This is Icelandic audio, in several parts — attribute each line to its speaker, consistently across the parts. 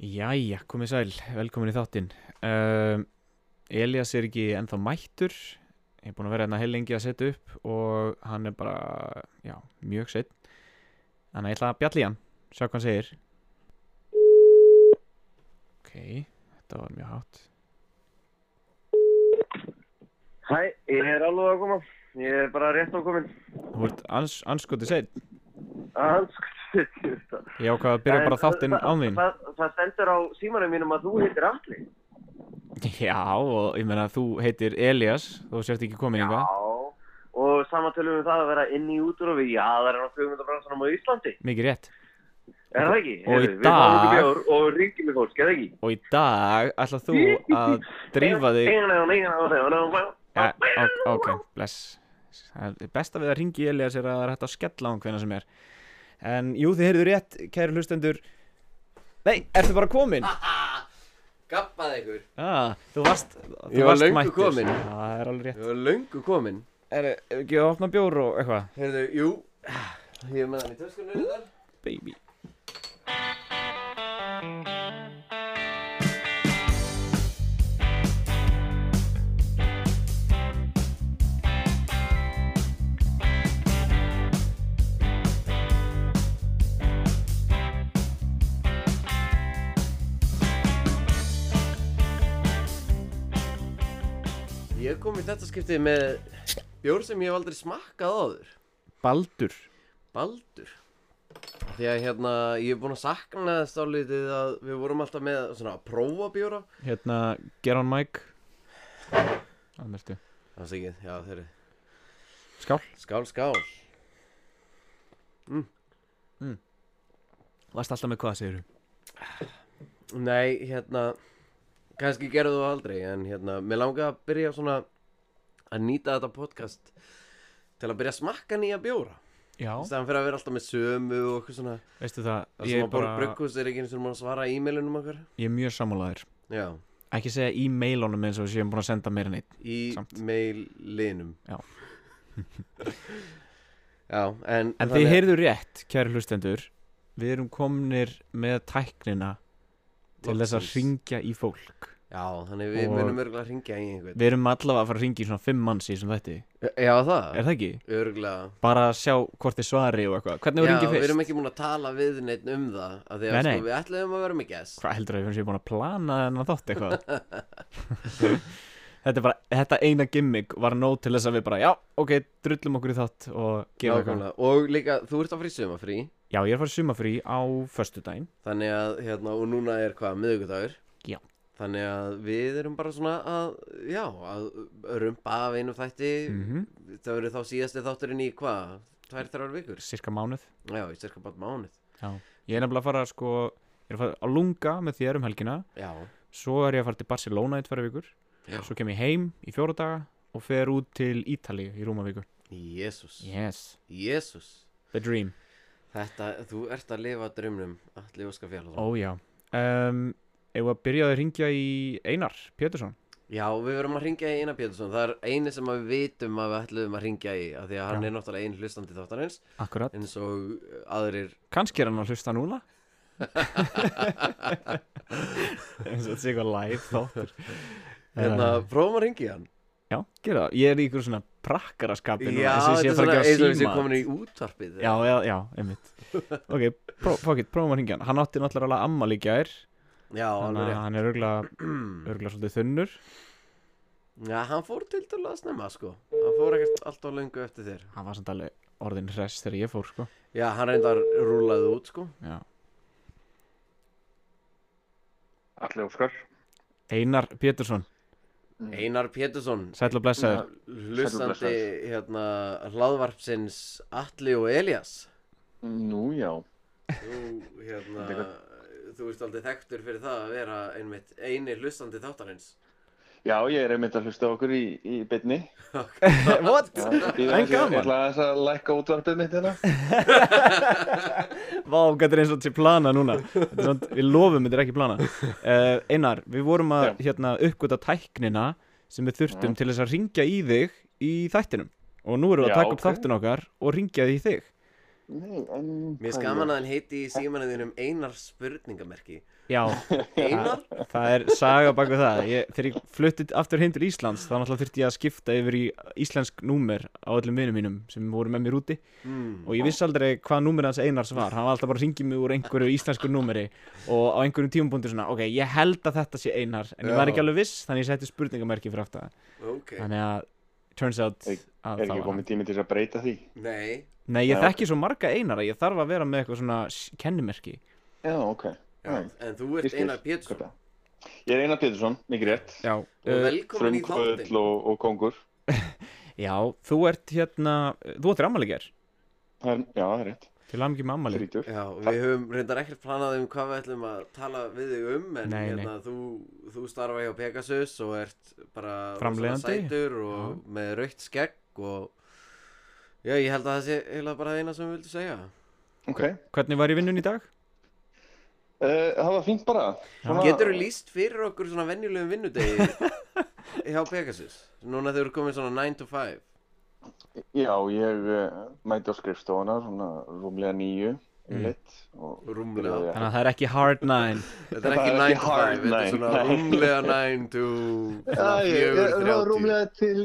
Speaker 1: Jæja, komið sæl, velkomin í þáttinn. Um, Elias er ekki ennþá mættur, ég er búinn að vera hérna heil lengi að setja upp og hann er bara, já, mjög sett. Þannig að ég ætla að bjalla í hann, sjá hvað hann segir. Ok, þetta var mjög hátt.
Speaker 2: Hæ, ég er alveg að koma. Ég er bara rétt á komin.
Speaker 1: Þú ert ans, anskotið sett,
Speaker 2: Anskotið, ég veit það.
Speaker 1: ég ákvað að byrja bara þáttinn án þín.
Speaker 2: Það, það, það stendur á símanum mínum að þú heitir Alli.
Speaker 1: Já, og ég meina þú heitir Elias, þú sért ekki komin yngvað.
Speaker 2: Já. Og saman tölum við um það að vera inn í útrúfi. Já, það er á flugmyndabransanum á Íslandi.
Speaker 1: Mikið rétt.
Speaker 2: Er það ekki?
Speaker 1: Og í
Speaker 2: Heyrðu, Við fáum
Speaker 1: dag-
Speaker 2: ekki bjór og ringjum í fólk, er það ekki?
Speaker 1: Og í dag ætlað þú að drífa þig Ja, ok- ok, bless Það er Best að við að ringi Elias er að það er hægt að skella á hann hvena sem er En jú, þið heyrðu rétt, kæri hlustendur Nei, ertu bara komin?
Speaker 3: Gappað ykkur
Speaker 1: Ah, þú varst,
Speaker 3: Ég
Speaker 1: þú
Speaker 3: var
Speaker 1: varst
Speaker 3: löngu
Speaker 1: mættur
Speaker 3: kominn.
Speaker 1: Já, Það er alveg rétt
Speaker 3: Við varum löngu komin
Speaker 1: Er ef ekki að opna bjór og eitthvað?
Speaker 3: Heyrðu, jú Ég er með hann í töskunni hérna. þar
Speaker 1: Baby
Speaker 3: Ég kom í þetta skiptið með bjór sem ég hef aldrei smakkað áður
Speaker 1: Baldur
Speaker 3: Baldur Því að hérna, ég er búin að sakna þess álítið að við vorum alltaf með svona að prófa bjóra
Speaker 1: Hérna, Geron Mike Þannig ertu
Speaker 3: Það er ekki, já þeir eru
Speaker 1: Skál
Speaker 3: Skál, skál
Speaker 1: Varst alltaf með hvað, segirðu?
Speaker 3: Nei, hérna kannski gerðu þú aldrei en hérna, mér langaði að byrja svona að nýta þetta podcast til að byrja að smakka nýja bjóra
Speaker 1: Já
Speaker 3: í staðan fyrir að vera alltaf með sömu og okkur svona
Speaker 1: Veistu það,
Speaker 3: það
Speaker 1: ég
Speaker 3: sem
Speaker 1: er
Speaker 3: að bara...
Speaker 1: bara,
Speaker 3: brugghús er ekki eins og maður að svara e-mailunum okkar
Speaker 1: ég er mjög sammálaður
Speaker 3: já,
Speaker 1: Ekki segja í mailunum eins og við séum búin að senda meira neitt Samt.
Speaker 3: e-mailinum
Speaker 1: Já.
Speaker 3: já, en
Speaker 1: En
Speaker 3: þannig
Speaker 1: þið
Speaker 3: að-
Speaker 1: heyrðu rétt, kæri hlustendur Við erum komnir með tæknina til þess að
Speaker 3: Loksins.
Speaker 1: ringja í fólk
Speaker 3: já, þannig við
Speaker 1: Og-
Speaker 3: munum örgulega að ringja í einhvern
Speaker 1: Við erum allavega að fara að ringja í svona fimm manns í sem þetta
Speaker 3: já, það,
Speaker 1: Er það ekki?
Speaker 3: örgulega
Speaker 1: Bara að sjá hvort þið svari og eitthvað Hvernig
Speaker 3: já,
Speaker 1: þú ringið
Speaker 3: við
Speaker 1: fyrst?
Speaker 3: erum ekki múin að tala við neitt um það af því að
Speaker 1: Nei, nei.
Speaker 3: sko, við ætluðum að vera með gæst
Speaker 1: Hvað heldur að við erum sér búin að plana þennan þátt eitthvað? þetta, er bara, þetta eina gimmick var nóg til þess að við bara Já, ok, drullum okkur í þátt og gerum eitthvað
Speaker 3: Nákvæmlega, og líka, þú ert að fara í sumafrí
Speaker 1: Já, ég er að fara sumafrí á föstudaginn
Speaker 3: Þannig að, hérna, og núna er hvað, miðvikudagur
Speaker 1: Já.
Speaker 3: Þannig að við erum bara svona að, já, að rumpa af einum þætti
Speaker 1: Mhm.
Speaker 3: Það verður þá síðasti þátturinn í hvað, tvær, þrjár vikur
Speaker 1: Cirka mánuð
Speaker 3: Já, í cirka bara mánuð
Speaker 1: Já. Ég er nefnilega að fara sko Ég er að fara að lunga með þér um helgina
Speaker 3: Já,
Speaker 1: Svo er ég að fara til Barcelona í tvær vikur
Speaker 3: Já.
Speaker 1: Svo kem ég heim í fjóra daga Og fer út til Ítalíu í rúma viku
Speaker 3: Jésús,
Speaker 1: Yes
Speaker 3: Jésús
Speaker 1: The dream
Speaker 3: Þetta, þú ert að lifa draumnum, allir óska fjallar
Speaker 1: Ó já um, Ef að byrjaði að ringja í Einar Pétursson
Speaker 3: Já, við verum að ringja í Einar Pétursson Það er eini sem að við vitum að við ætluðum að ringja í af Því að hann
Speaker 1: Já.
Speaker 3: er náttúrulega einn hlustandi þáttarins
Speaker 1: Akkurat
Speaker 3: eins og aðrir
Speaker 1: Kanski er hann að hlusta núna En svo þetta sé eitthvað live þáttur
Speaker 3: Hérna,
Speaker 1: Eh,
Speaker 3: prófum að ringi hann
Speaker 1: Já, gera það Ég er í ykkur svona prakkaraskapi núna eins og ég sé að fara
Speaker 3: þetta er
Speaker 1: að gefa
Speaker 3: svona eins og þessi
Speaker 1: símat.
Speaker 3: komin í útvarpið
Speaker 1: Já, já, já, einmitt Ok, pró, fuck it, prófum að hringja hann Hann átti náttúrulega að amma líka er
Speaker 3: já
Speaker 1: Þannig að
Speaker 3: alveg rétt Mm.
Speaker 1: hann er örgulega,
Speaker 3: Mhm.
Speaker 1: örgulega svolítið þunnur
Speaker 3: Já, hann fór til dæla að snemma, sko Hann fór ekkert alltaf löngu eftir þér
Speaker 1: Hann var samt alveg orðin hress þegar ég fór, sko
Speaker 3: Já, hann reyndar rúlaði út, sko
Speaker 1: já.
Speaker 2: Alli Óskar.
Speaker 1: Einar Pétursson,
Speaker 4: Mm.
Speaker 3: Einar Pétursson
Speaker 1: sæll og blessaður
Speaker 3: Hlustandi,
Speaker 2: blessaður.
Speaker 3: hérna, hlaðvarpsins Atli og Elias
Speaker 2: Nú já.
Speaker 3: Þú, hérna, þú ert aldrei þekktur fyrir það að vera einmitt eini hlustandi þáttarins
Speaker 4: Já, ég er einmitt að hlusta á okkur í, í bytni.
Speaker 1: What? En
Speaker 4: Ég
Speaker 1: gaman
Speaker 4: ætla aðeins að lækka útvarpið mitt hérna.
Speaker 1: Vá, þetta er eins og til plana núna Þetta er samt- Við lofum, þetta er ekki plana uh, Einar, við vorum að hérna, uppgöta tæknina sem við þurftum til þess að ringja í þig í þættinum og nú erum við að
Speaker 4: Já,
Speaker 1: taka upp
Speaker 4: ok.
Speaker 1: þáttin okkar og ringja í þig
Speaker 4: Nei, en...
Speaker 3: Mér er skaman að hann heiti í símanuðinum Einar spurningamerki
Speaker 1: Já,
Speaker 3: Einar?
Speaker 1: það er saga bak við það ég, Þegar ég flutti aftur heim til Íslands þá náttúrulega þurfti ég að skipta yfir í íslensk númer á öllum vinum mínum sem voru með mér úti
Speaker 3: Hmm.
Speaker 1: og ég vissi aldrei hvað númer hans Einars var hann var alltaf bara að ringið mig úr einhverju íslensku númeri og á einhverjum tímapunkti svona ok, ég held að þetta sé Einar en ég var
Speaker 3: Já.
Speaker 1: ekki alveg viss þannig ég setti spurningamerki fyrir aftan það.
Speaker 3: Ok
Speaker 1: þannig að turns out
Speaker 4: Er-
Speaker 1: að það
Speaker 4: Er ekki
Speaker 1: var hann
Speaker 4: komið tími til þess að breyta því?
Speaker 3: Nei
Speaker 1: Nei, ég
Speaker 4: Já.
Speaker 1: þekki svo marga Einar að ég þarf að vera með eitthvað svona s- kennimerki
Speaker 4: Já, ok.
Speaker 3: Já,
Speaker 4: Nei.
Speaker 3: En þú ert
Speaker 4: Ég skil.
Speaker 3: Einar Pétursson
Speaker 4: Kaupa. Ég er Einar Pétursson, mikið rétt.
Speaker 1: Já,
Speaker 3: Og
Speaker 1: uh,
Speaker 3: velkomin í
Speaker 4: Frumkvöld
Speaker 3: þáttin
Speaker 4: og, og kongur.
Speaker 1: já þú ert hérna þú ert rammalegjar
Speaker 4: Það er, já, það er rétt.
Speaker 1: til að mikið með ammali
Speaker 4: Þrítur.
Speaker 3: Já, við höfum reyndar ekkert planað um hvað við ætlum að tala við þig um en
Speaker 1: Nei,
Speaker 3: hérna, Þú, þú starfa hjá Pegasus og ert bara rosalega
Speaker 1: Framleiðandi.
Speaker 3: sætur og með raukt skegg og Já, ég held að það sé eiginlega bara eina sem við vildu segja
Speaker 1: Ah.
Speaker 4: Ok.
Speaker 1: Hvernig var í vinnun í dag?
Speaker 4: Uh, það var fínt bara. Svona-
Speaker 3: Getur þú líst fyrir okkur svona venjulegum vinnudegi hjá Pegasus? Núna þau eru komin svona 9 to 5
Speaker 4: Já, ég uh, mæti á skrifstofana svona rúmlega nýju,
Speaker 3: Mm.
Speaker 4: yfirleitt. og
Speaker 3: Rúmlega.
Speaker 4: byrjaði
Speaker 1: Þannig að það er ekki hard nine
Speaker 3: Þetta er
Speaker 4: Það
Speaker 3: ekki
Speaker 4: er
Speaker 3: 9
Speaker 4: ekki
Speaker 3: to 5,
Speaker 4: hard
Speaker 3: þetta er
Speaker 4: nine,
Speaker 3: svona
Speaker 4: nei.
Speaker 3: rúmlega 9 to svona
Speaker 4: Já, ég, ég,
Speaker 3: 4,
Speaker 4: svona rúmlega til,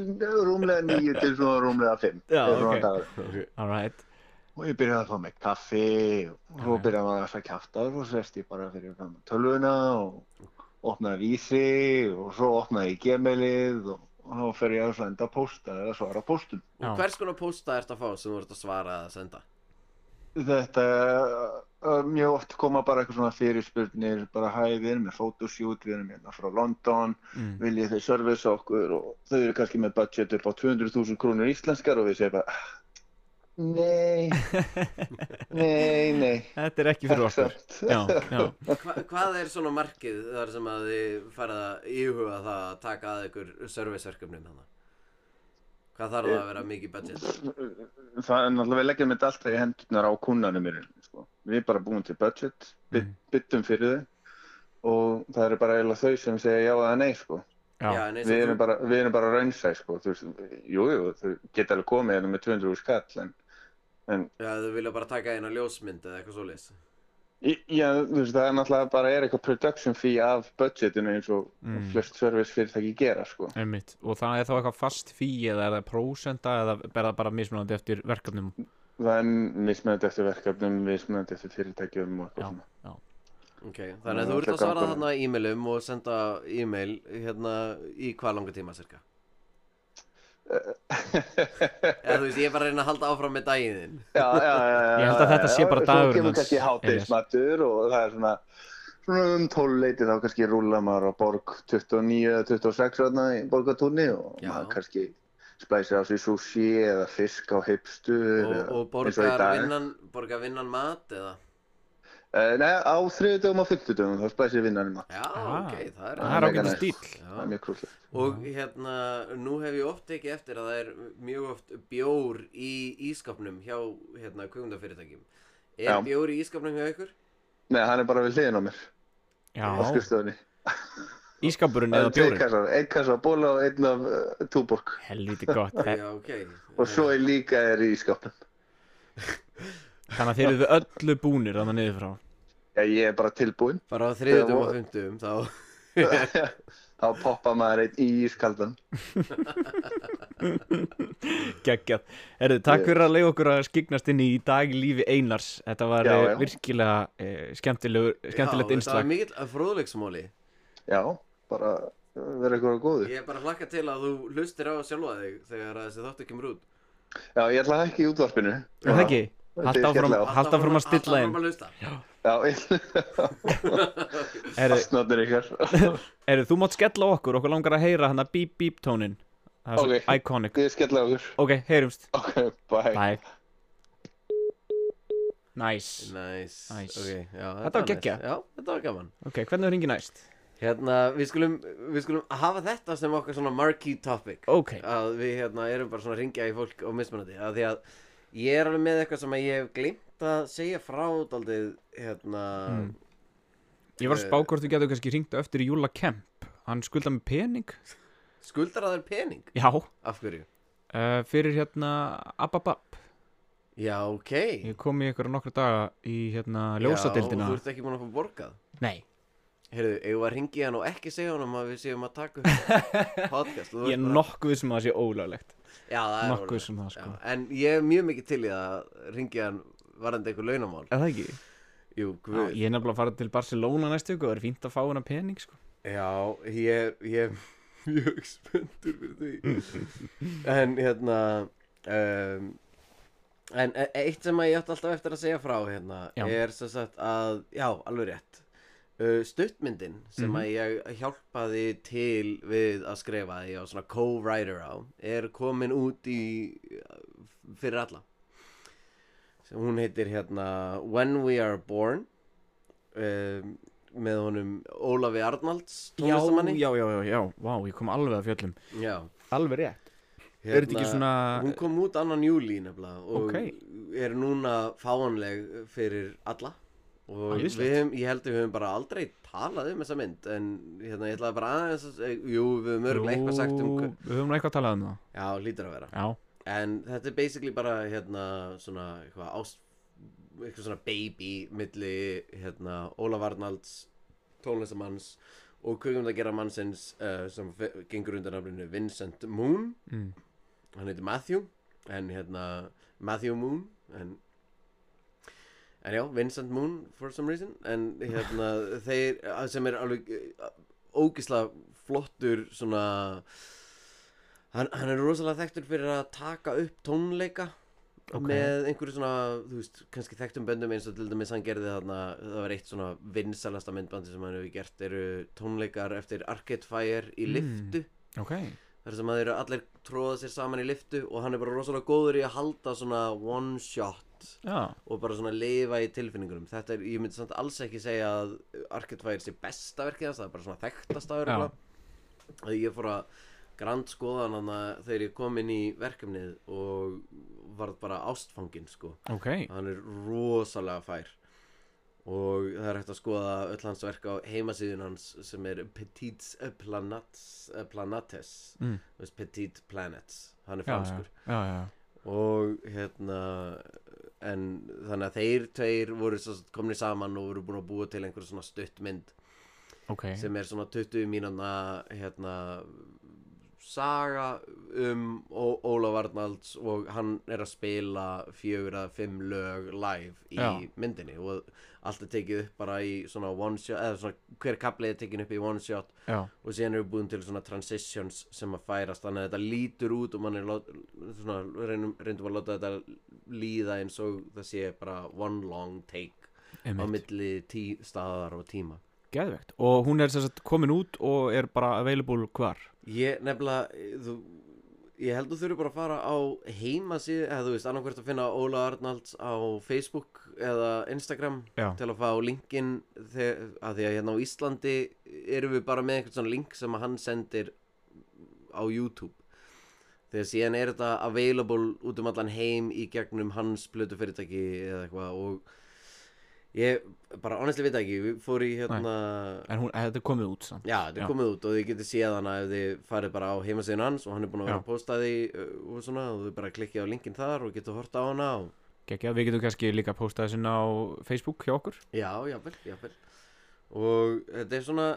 Speaker 4: rúmlega nýju til svona rúmlega fimm.
Speaker 1: Já,
Speaker 4: er svona
Speaker 1: ok.
Speaker 4: dagur.
Speaker 1: All right
Speaker 4: Og ég byrjaði að fá mig kaffi og svo
Speaker 1: Já.
Speaker 4: byrjaði maður alltaf kjaftar og sest ég bara fyrir fram tölvuna og opnaði vísi og svo opnaði ég gemelið og, og þá fer ég að senda pósta eða svara póstum.
Speaker 1: Já.
Speaker 3: Og hvers konar posta ert að fá sem þú ert að svara að senda?
Speaker 4: Þetta uh, mjög oft koma bara eitthvað svona fyrirspurnir, bara hæ, við erum með photoshoot, við erum hérna frá London,
Speaker 1: mm.
Speaker 4: viljið þau servisa okkur og þau eru kannski með budget upp á 200.000 krónur íslenskar og við segjum bara "Ah, Nei, nei, nei
Speaker 1: Þetta er ekki fyrir okkur
Speaker 4: Samt.
Speaker 1: Já, já
Speaker 3: Hva, hvað er svona markið þar sem að þið farið að íhuga það að taka að ykkur serviceverkefnin hann? Hvað þarf það að vera mikið budget?
Speaker 4: Það er náttúrulega, við leggjum þetta alltaf í hendurnar á kúnanum mér sko. Við erum bara búin til budget, by-
Speaker 1: Mhm.
Speaker 4: byttum fyrir þau og það eru bara eiginlega þau sem segja já eða nei sko.
Speaker 1: Já,
Speaker 3: en eins
Speaker 4: Við
Speaker 3: og
Speaker 4: erum bara, við erum bara raunsæ sko. Þú veist, jú, jú, þau geta alveg komið hérna með 200 skall en, en
Speaker 3: þú, já, þau vilja bara taka eina ljósmynd eða eitthvað svoleiðis.
Speaker 4: Í- Já, þú veist, það er náttúrulega bara er eitthvað production fee af budgetinu eins og
Speaker 1: Mm.
Speaker 4: flest service fyrirtæki gera, sko.
Speaker 1: einmitt Og það er þá eitthvað fast fí eða er það prósenda eða er það bara mismunandi eftir verkefnum
Speaker 4: Það er mismunandi eftir verkefnum, mismunandi eftir fyrirtækjum
Speaker 1: Já.
Speaker 4: og eitthvað svona.
Speaker 3: Ok, þannig að
Speaker 4: Já,
Speaker 3: þú ert
Speaker 4: þetta
Speaker 3: að svara
Speaker 4: gangur.
Speaker 3: þarna e-mailum og senda e-mail hérna í hvað langa tíma cirka? Eða þú veist, ég er bara að reyna að halda áfram með daginn þinn.
Speaker 4: Já, já, já, já.
Speaker 1: Ég held að þetta sé bara dagurinn
Speaker 4: Svo kemur
Speaker 1: hans,
Speaker 4: kannski hátismatur og það er svona, svona um 12 leiti þá kannski rúla maður á borg 29 eða 26 þarna í borgatúni og
Speaker 3: Já.
Speaker 4: maður kannski splæsir á sig sushi eða fisk á hipstu
Speaker 3: Og, og borgar vinnan, borgar vinnan mat eða?
Speaker 4: Eh, Nei, á þriðdögum og fymtudögum þá splæsir vinnanum að.
Speaker 3: Já,
Speaker 1: Ah,
Speaker 3: ok, það
Speaker 1: Það er
Speaker 3: er
Speaker 4: mega
Speaker 1: ágætið
Speaker 4: næs.
Speaker 1: stíl
Speaker 4: Það er
Speaker 3: Já.
Speaker 4: mjög krúllið.
Speaker 3: Og hérna, nú hef ég oft tekið eftir að það er mjög oft bjór í ískapnum hjá hérna kvöngundafyrirtækjum. Er
Speaker 4: Já.
Speaker 3: bjór í ískapnum hjá ykkur?
Speaker 4: Nei, hann er bara við hliðin á mér
Speaker 1: Já,
Speaker 4: á skrifstöðunni.
Speaker 1: ískapurinn
Speaker 4: Það
Speaker 1: eða
Speaker 4: eru tveir
Speaker 1: bjórinn
Speaker 4: kassar, einn kassa af bóla og einn af uh, túborg.
Speaker 1: Helviti gott Eh, Þe-
Speaker 3: Já, ok.
Speaker 4: Og svo er líka er í skápnum.
Speaker 1: Þannig að þeir eru öllu búnir þannig niður frá
Speaker 4: Já, ég er bara tilbúinn.
Speaker 3: Bara á þriðutum og fymtum, þá...
Speaker 4: Þá poppa maður einn í ískaldan.
Speaker 1: Geggjað. Herðu, takk fyrir að leiða okkur að skiknast inn í daglífi Einars. Þetta var
Speaker 4: Já,
Speaker 1: já,
Speaker 4: já.
Speaker 1: virkilega eh, skemmtilegur, skemmtilegt
Speaker 3: Já, Það
Speaker 1: innslag.
Speaker 3: er mikill fróðleiksmóli.
Speaker 4: Já, bara uh, vera eitthvað góður.
Speaker 3: Ég er bara hlakka til að þú hlustir á sjálfa þig þegar að þessi þáttu kemur út.
Speaker 4: Já, ég ætla það ekki í útvarpinu.
Speaker 1: Er það ekki?
Speaker 4: Þetta
Speaker 1: Halda
Speaker 4: er
Speaker 1: áfram,
Speaker 4: skemmtilega.
Speaker 1: halda áfram að stilla
Speaker 3: Alltaf
Speaker 1: inn.
Speaker 3: fórum að hlusta.
Speaker 4: Já, ég...
Speaker 1: Herðu,
Speaker 4: Fastnáttir ykkar.
Speaker 1: herðu, þú mátt skella á okkur, okkur langar að heyra hann að bíp bíp tónin. Það er
Speaker 4: Ok.
Speaker 1: svo iconic.
Speaker 4: Ég skella á okkur.
Speaker 1: Ok, heyrumst.
Speaker 4: Ok, bye.
Speaker 1: Bye. Nice.
Speaker 3: Nice.
Speaker 1: Nice.
Speaker 3: Ok, já,
Speaker 1: Þetta var
Speaker 3: nice.
Speaker 1: geggjað.
Speaker 3: Já, þetta var gaman.
Speaker 1: Ok, hvernig þú ringir næst?
Speaker 3: Hérna, við skulum, við skulum hafa þetta sem okkar svona marquee topic
Speaker 1: Ok.
Speaker 3: að við hérna erum bara svona að ringja í fólk og mismunandi að því að ég er alveg með eitthvað sem að ég hef glimt að segja frá daldið hérna
Speaker 1: Mm. Ég var að spá hvort þú getur kannski ringt eftir í Júla Kemp. Hann skulda með pening.
Speaker 3: skuldar að það er pening
Speaker 1: Já. Eh,
Speaker 3: af hverju
Speaker 1: Uh, fyrir hérna Ababab.
Speaker 3: Já, ok
Speaker 1: Ég kom í einhverja nokkra daga í hérna
Speaker 3: Já,
Speaker 1: ljósadeildina
Speaker 3: þú ert ekki búin að fá borgað
Speaker 1: Nei,
Speaker 3: Heyrðu, eigum við að ringi hann og ekki segja honum að við séum að taka upp podcast og þú
Speaker 1: ég
Speaker 3: ert
Speaker 1: er
Speaker 3: bara-
Speaker 1: nokkuð sem að það sé ólöglegt
Speaker 3: Já, það er
Speaker 1: nokkuð
Speaker 3: orðið.
Speaker 1: sem það, sko.
Speaker 3: Já, En ég er mjög mikið til í að ringi hann varandi einhver launamál
Speaker 1: Er það ekki?
Speaker 3: Jú,
Speaker 1: Já,
Speaker 3: guð
Speaker 1: ég er nefnilega að fara til Barcelona næstu viku og það er fínt að fá hana pening sko.
Speaker 3: Já, ég, ég er mjög spenntur fyrir því En hérna um, En e- eitt sem að ég átti alltaf eftir að segja frá hérna
Speaker 1: Já.
Speaker 3: Er sem sagt að, já, alveg rétt uh, Stuttmyndin sem
Speaker 1: Mhm.
Speaker 3: að ég hjálpaði til við að skrifa Ég var svona co-writer á Er komin út í, fyrir alla Sem Hún heitir hérna When We Are Born um, með honum Ólafi Arnalds
Speaker 1: já,
Speaker 3: tónlistamanni
Speaker 1: já, já, já, já, vá, ég kom alveg að fjöllum
Speaker 3: já. Hérna,
Speaker 1: Alveg rétt Er þetta ekki svona-
Speaker 3: hún kom út annan júli nefnilega og
Speaker 1: Ókei.
Speaker 3: er núna fáanleg fyrir alla og
Speaker 1: Æðislegt.
Speaker 3: við höfum, ég held að við höfum bara aldrei talað um þessa mynd en hérna, ég ætlaði bara aðeins að, eh, jú, við höfum örgulega eitthvað sagt um hva-
Speaker 1: Við höfum nú eitthvað að talað um það
Speaker 3: já, lítur að vera
Speaker 1: Já,
Speaker 3: en þetta er basically bara hérna svona eitthvað ást eitthvað svona baby milli hérna Ólaf Arnalds tónlistamanns og kvikmyndagera mannsins uh, sem fe- gengur undan nafninu Vincent Moon
Speaker 1: mm.
Speaker 3: hann heitir Matthew en hérna Matthew Moon en En já, Vincent Moon for some reason En hérna, þeir að- sem er alveg eh, ógislega flottur svona hann, hann er rosalega þekktur fyrir að taka upp tónleika
Speaker 1: Ok.
Speaker 3: með einhverju svona, þú veist, kannski þekktum böndum eins og til dæmis hann gerði þarna það var eitt svona vinsalasta myndbandi sem hann hefur gert eru tónleikar eftir Arcade Fire í
Speaker 1: Mm.
Speaker 3: lyftu
Speaker 1: ok
Speaker 3: þar sem að þeir eru allir tróða sér saman í lyftu og hann er bara rosalega góður í að halda svona one shot
Speaker 1: Já,
Speaker 3: og bara svona lifa í tilfinningunum þetta er, ég myndi samt alls ekki segja að Arcade sé besta verkið hans, það er bara svona þekktasta verkið að ég fór að grand skoða hann þarna þegar ég kom inn í verkefnið og varð bara ástfanginn sko
Speaker 1: ok
Speaker 3: hann er rosalega fær og það er hægt að skoða öll hans verk á heimasíðun hans sem er Petits Planats, eh, Planates
Speaker 1: Mm.
Speaker 3: Þú veist, Petit Planets hann er
Speaker 1: Já, já,
Speaker 3: franskur
Speaker 1: já, já,
Speaker 3: og hérna en þannig að þeir tveir voru svo sagt komnir saman og voru búin að búa til einhver svona stuttmynd
Speaker 1: ok
Speaker 3: sem er svona 20 mínúna hérna saga um Ó- Ólaf Arnalds og hann er að spila fjögur að fimm lög live í
Speaker 1: Já.
Speaker 3: myndinni og allt er tekið upp bara í svona one shot eða svona hver kaplið er tekin upp í one shot
Speaker 1: Já,
Speaker 3: og síðan eru búin til svona transitions sem að færast þannig að þetta lítur út og mann er lát, svona, reynum, reyndum að láta þetta líða eins og það sé bara one long take á
Speaker 1: einmitt
Speaker 3: milli tí, staðar og tíma
Speaker 1: Geðvegt Og hún er sem sagt komin út og er bara available hvar
Speaker 3: ég nefnilega eh, þú, ég held þú þurfi bara að fara á heimasíðu eða þú veist annarkvært að finna Óla Arnalds á Facebook eða Instagram
Speaker 1: Já.
Speaker 3: til að fá linkin þegar, að því að hérna á Íslandi erum við bara með einhvern svona link sem að hann sendir á YouTube þegar síðan er þetta available út um allan heim í gegnum hans blötu fyrirtæki eða eitthvað og ég bara honestlega veit það ekki, við fór í hérna
Speaker 1: En hún, eh, þetta er komið út samt
Speaker 3: Já, þetta
Speaker 1: Já.
Speaker 3: er komið út og þið getið séð hana ef þið farið bara á heimasíðun hans og hann er búin að vera
Speaker 1: Já.
Speaker 3: að posta því uh, og svona og þið bara klikkið á linkin þar og getið horta á hana og
Speaker 1: Gekja, við getum kannski líka að posta þessin á Facebook hjá okkur
Speaker 3: já, jáfnvel, jáfnvel og þetta er svona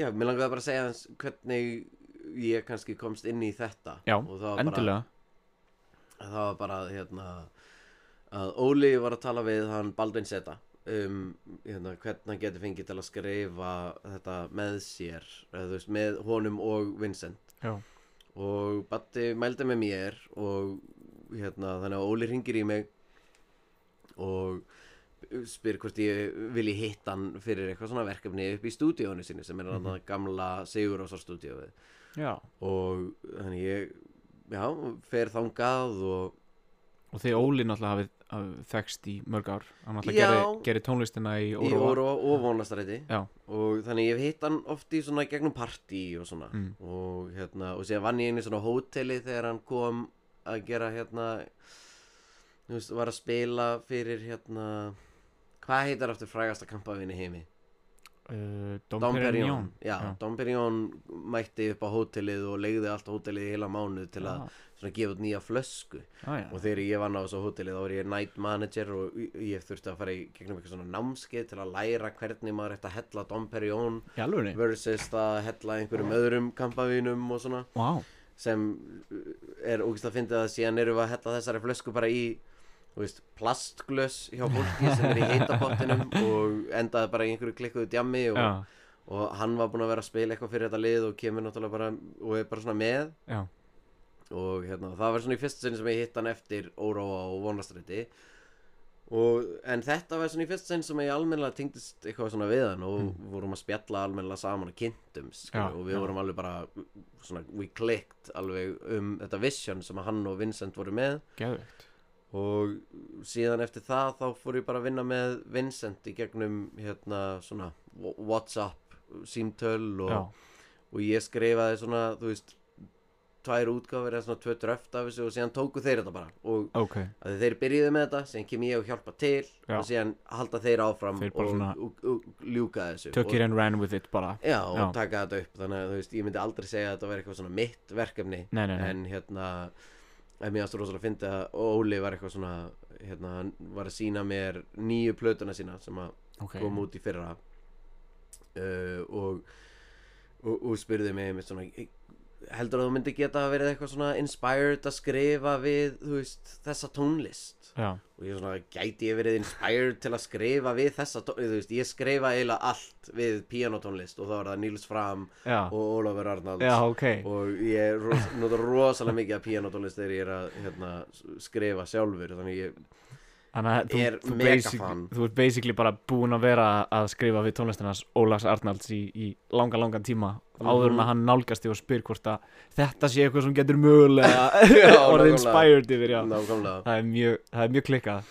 Speaker 3: já, mér langaði bara að segja hans hvernig ég kannski komst inn í þetta
Speaker 1: Já,
Speaker 3: og það var bara,
Speaker 1: Endilega
Speaker 3: það var bara hérna, að Óli var að tala við hann Baldvin Seta um hérna, hvernig hann getur fengið til að skrifa þetta með sér eða, þú veist, með honum og Vincent
Speaker 1: Já,
Speaker 3: og Batti mældi með mér og hérna þannig að Óli ringir í mig og spyr hvort ég vilji hitta hann fyrir eitthvað svona verkefni upp í stúdíónu sinni sem er hann að gamla Sigur Rósar stúdíóið
Speaker 1: já
Speaker 3: og þannig ég já, fer þangað og
Speaker 1: Og þið Óli náttúrulega hafið, hafið þekst í mörg ár Hann
Speaker 3: Já.
Speaker 1: náttúrulega gerði, gerði tónlistina í
Speaker 3: í
Speaker 1: Óróa
Speaker 3: Óróa og Vonastræti
Speaker 1: Já.
Speaker 3: og þannig ég hef hitt hann oft í svona gegnum partí og svona
Speaker 1: Mm.
Speaker 3: og hérna og séðan vann ég inn í svona hóteli þegar hann kom að gera hérna þú veist, var að spila fyrir hérna hvað heitar aftur frægasta kampavín í heimi
Speaker 1: uh, Dom
Speaker 3: Dom
Speaker 1: Perignon
Speaker 3: Perignon já, Dom Perignon mætti upp á hótelið og legði allt á hótelið í heila mánuð til að svona gefa út nýja flösku
Speaker 1: Ah, já, já.
Speaker 3: og þegar ég vann á þessu hóteli þá var ég night manager og ég- ég þurfti að fara í gegnum eitthvað svona námskeið til að læra hvernig maður ætti að hella Dom Perignon
Speaker 1: í alvöru
Speaker 3: versus að hella einhverjum öðrum kampavínum og svona
Speaker 1: wow.
Speaker 3: sem uh, er ógist að fyndið að síðan erum við að hella þessari flösku bara í þú veist, plastglös hjá fólki sem er í heitapottinum og endaði bara í einhverju klikkuðu djammi og,
Speaker 1: já,
Speaker 3: og hann var búinn að vera að spila eitthvað fyrir þetta lið og kemur náttúrulega bara og er bara svona með
Speaker 1: já,
Speaker 3: og hérna, það var svona í fyrsta sinni sem ég hitt hann eftir óróa og vonastræti og, en þetta var svona í fyrsta sinni sem ég almennilega tengdist eitthvað svona við hann og vorum að spjalla almennilega saman og kynntum
Speaker 1: Mm. Já,
Speaker 3: skilur, og við
Speaker 1: já.
Speaker 3: vorum alveg bara svona, we clicked alveg um þetta vision sem hann og Vincent voru með
Speaker 1: geðvögt
Speaker 3: og síðan eftir það þá fór ég bara að vinna með Vincent í gegnum hérna svona wh- Whatsapp símtöl og
Speaker 1: já,
Speaker 3: og ég skrifaði svona, þú veist tvær útgáfur eða svona tvö dröft af þessu og síðan tóku þeir þetta bara og
Speaker 1: ok,
Speaker 3: að þeir byrjuðu með þetta, síðan kem ég og hjálpa til
Speaker 1: Já.
Speaker 3: og síðan halda þeir áfram
Speaker 1: Þeir bara
Speaker 3: og,
Speaker 1: svona-
Speaker 3: og, og, ljúka þessu
Speaker 1: took it
Speaker 3: og,
Speaker 1: and ran with it bara
Speaker 3: já, og
Speaker 1: Já.
Speaker 3: taka þetta upp þannig að þú veist, ég myndi aldrei segja að þetta væri eitthvað svona mitt verkefni
Speaker 1: nei, nei, nei,
Speaker 3: en hérna en mér aðstu rosalega að fyndi að Óli var eitthvað svona hérna, hann var að sína mér nýju plötuna sína sem að
Speaker 1: ok
Speaker 3: kom út í fyrra uh, og, og, og spurði mig með svona "Hey, heldur að þú myndi geta verið eitthvað svona inspired að skrifa við þú veist, þessa tónlist
Speaker 1: já,
Speaker 3: og ég svona gæti ég verið inspired til að skrifa við þessa tónlist þú veist, ég skrifa eiginlega allt við píanotónlist og þá var það Nils Fram
Speaker 1: já,
Speaker 3: og Ólafur Arnalds
Speaker 1: Ah. já, ok
Speaker 3: og ég ros nota rosalega mikið að píanotónlist þegar ég er að hérna, s- skrifa sjálfur þannig ég
Speaker 1: Þannig að þú,
Speaker 3: er
Speaker 1: þú,
Speaker 3: mega
Speaker 1: basic,
Speaker 3: fan.
Speaker 1: þú ert basically bara búin að vera að skrifa við tónlistinans Ólafs Arnalds í, í langan, langan tíma áður en
Speaker 3: Mhm.
Speaker 1: að hann nálgast þig og spyr hvort að þetta sé eitthvað sem getur mögulega orðið
Speaker 3: nákvæmlega.
Speaker 1: inspired yfir, já
Speaker 3: nákvæmlega
Speaker 1: Það er mjög, það er mjög klikkað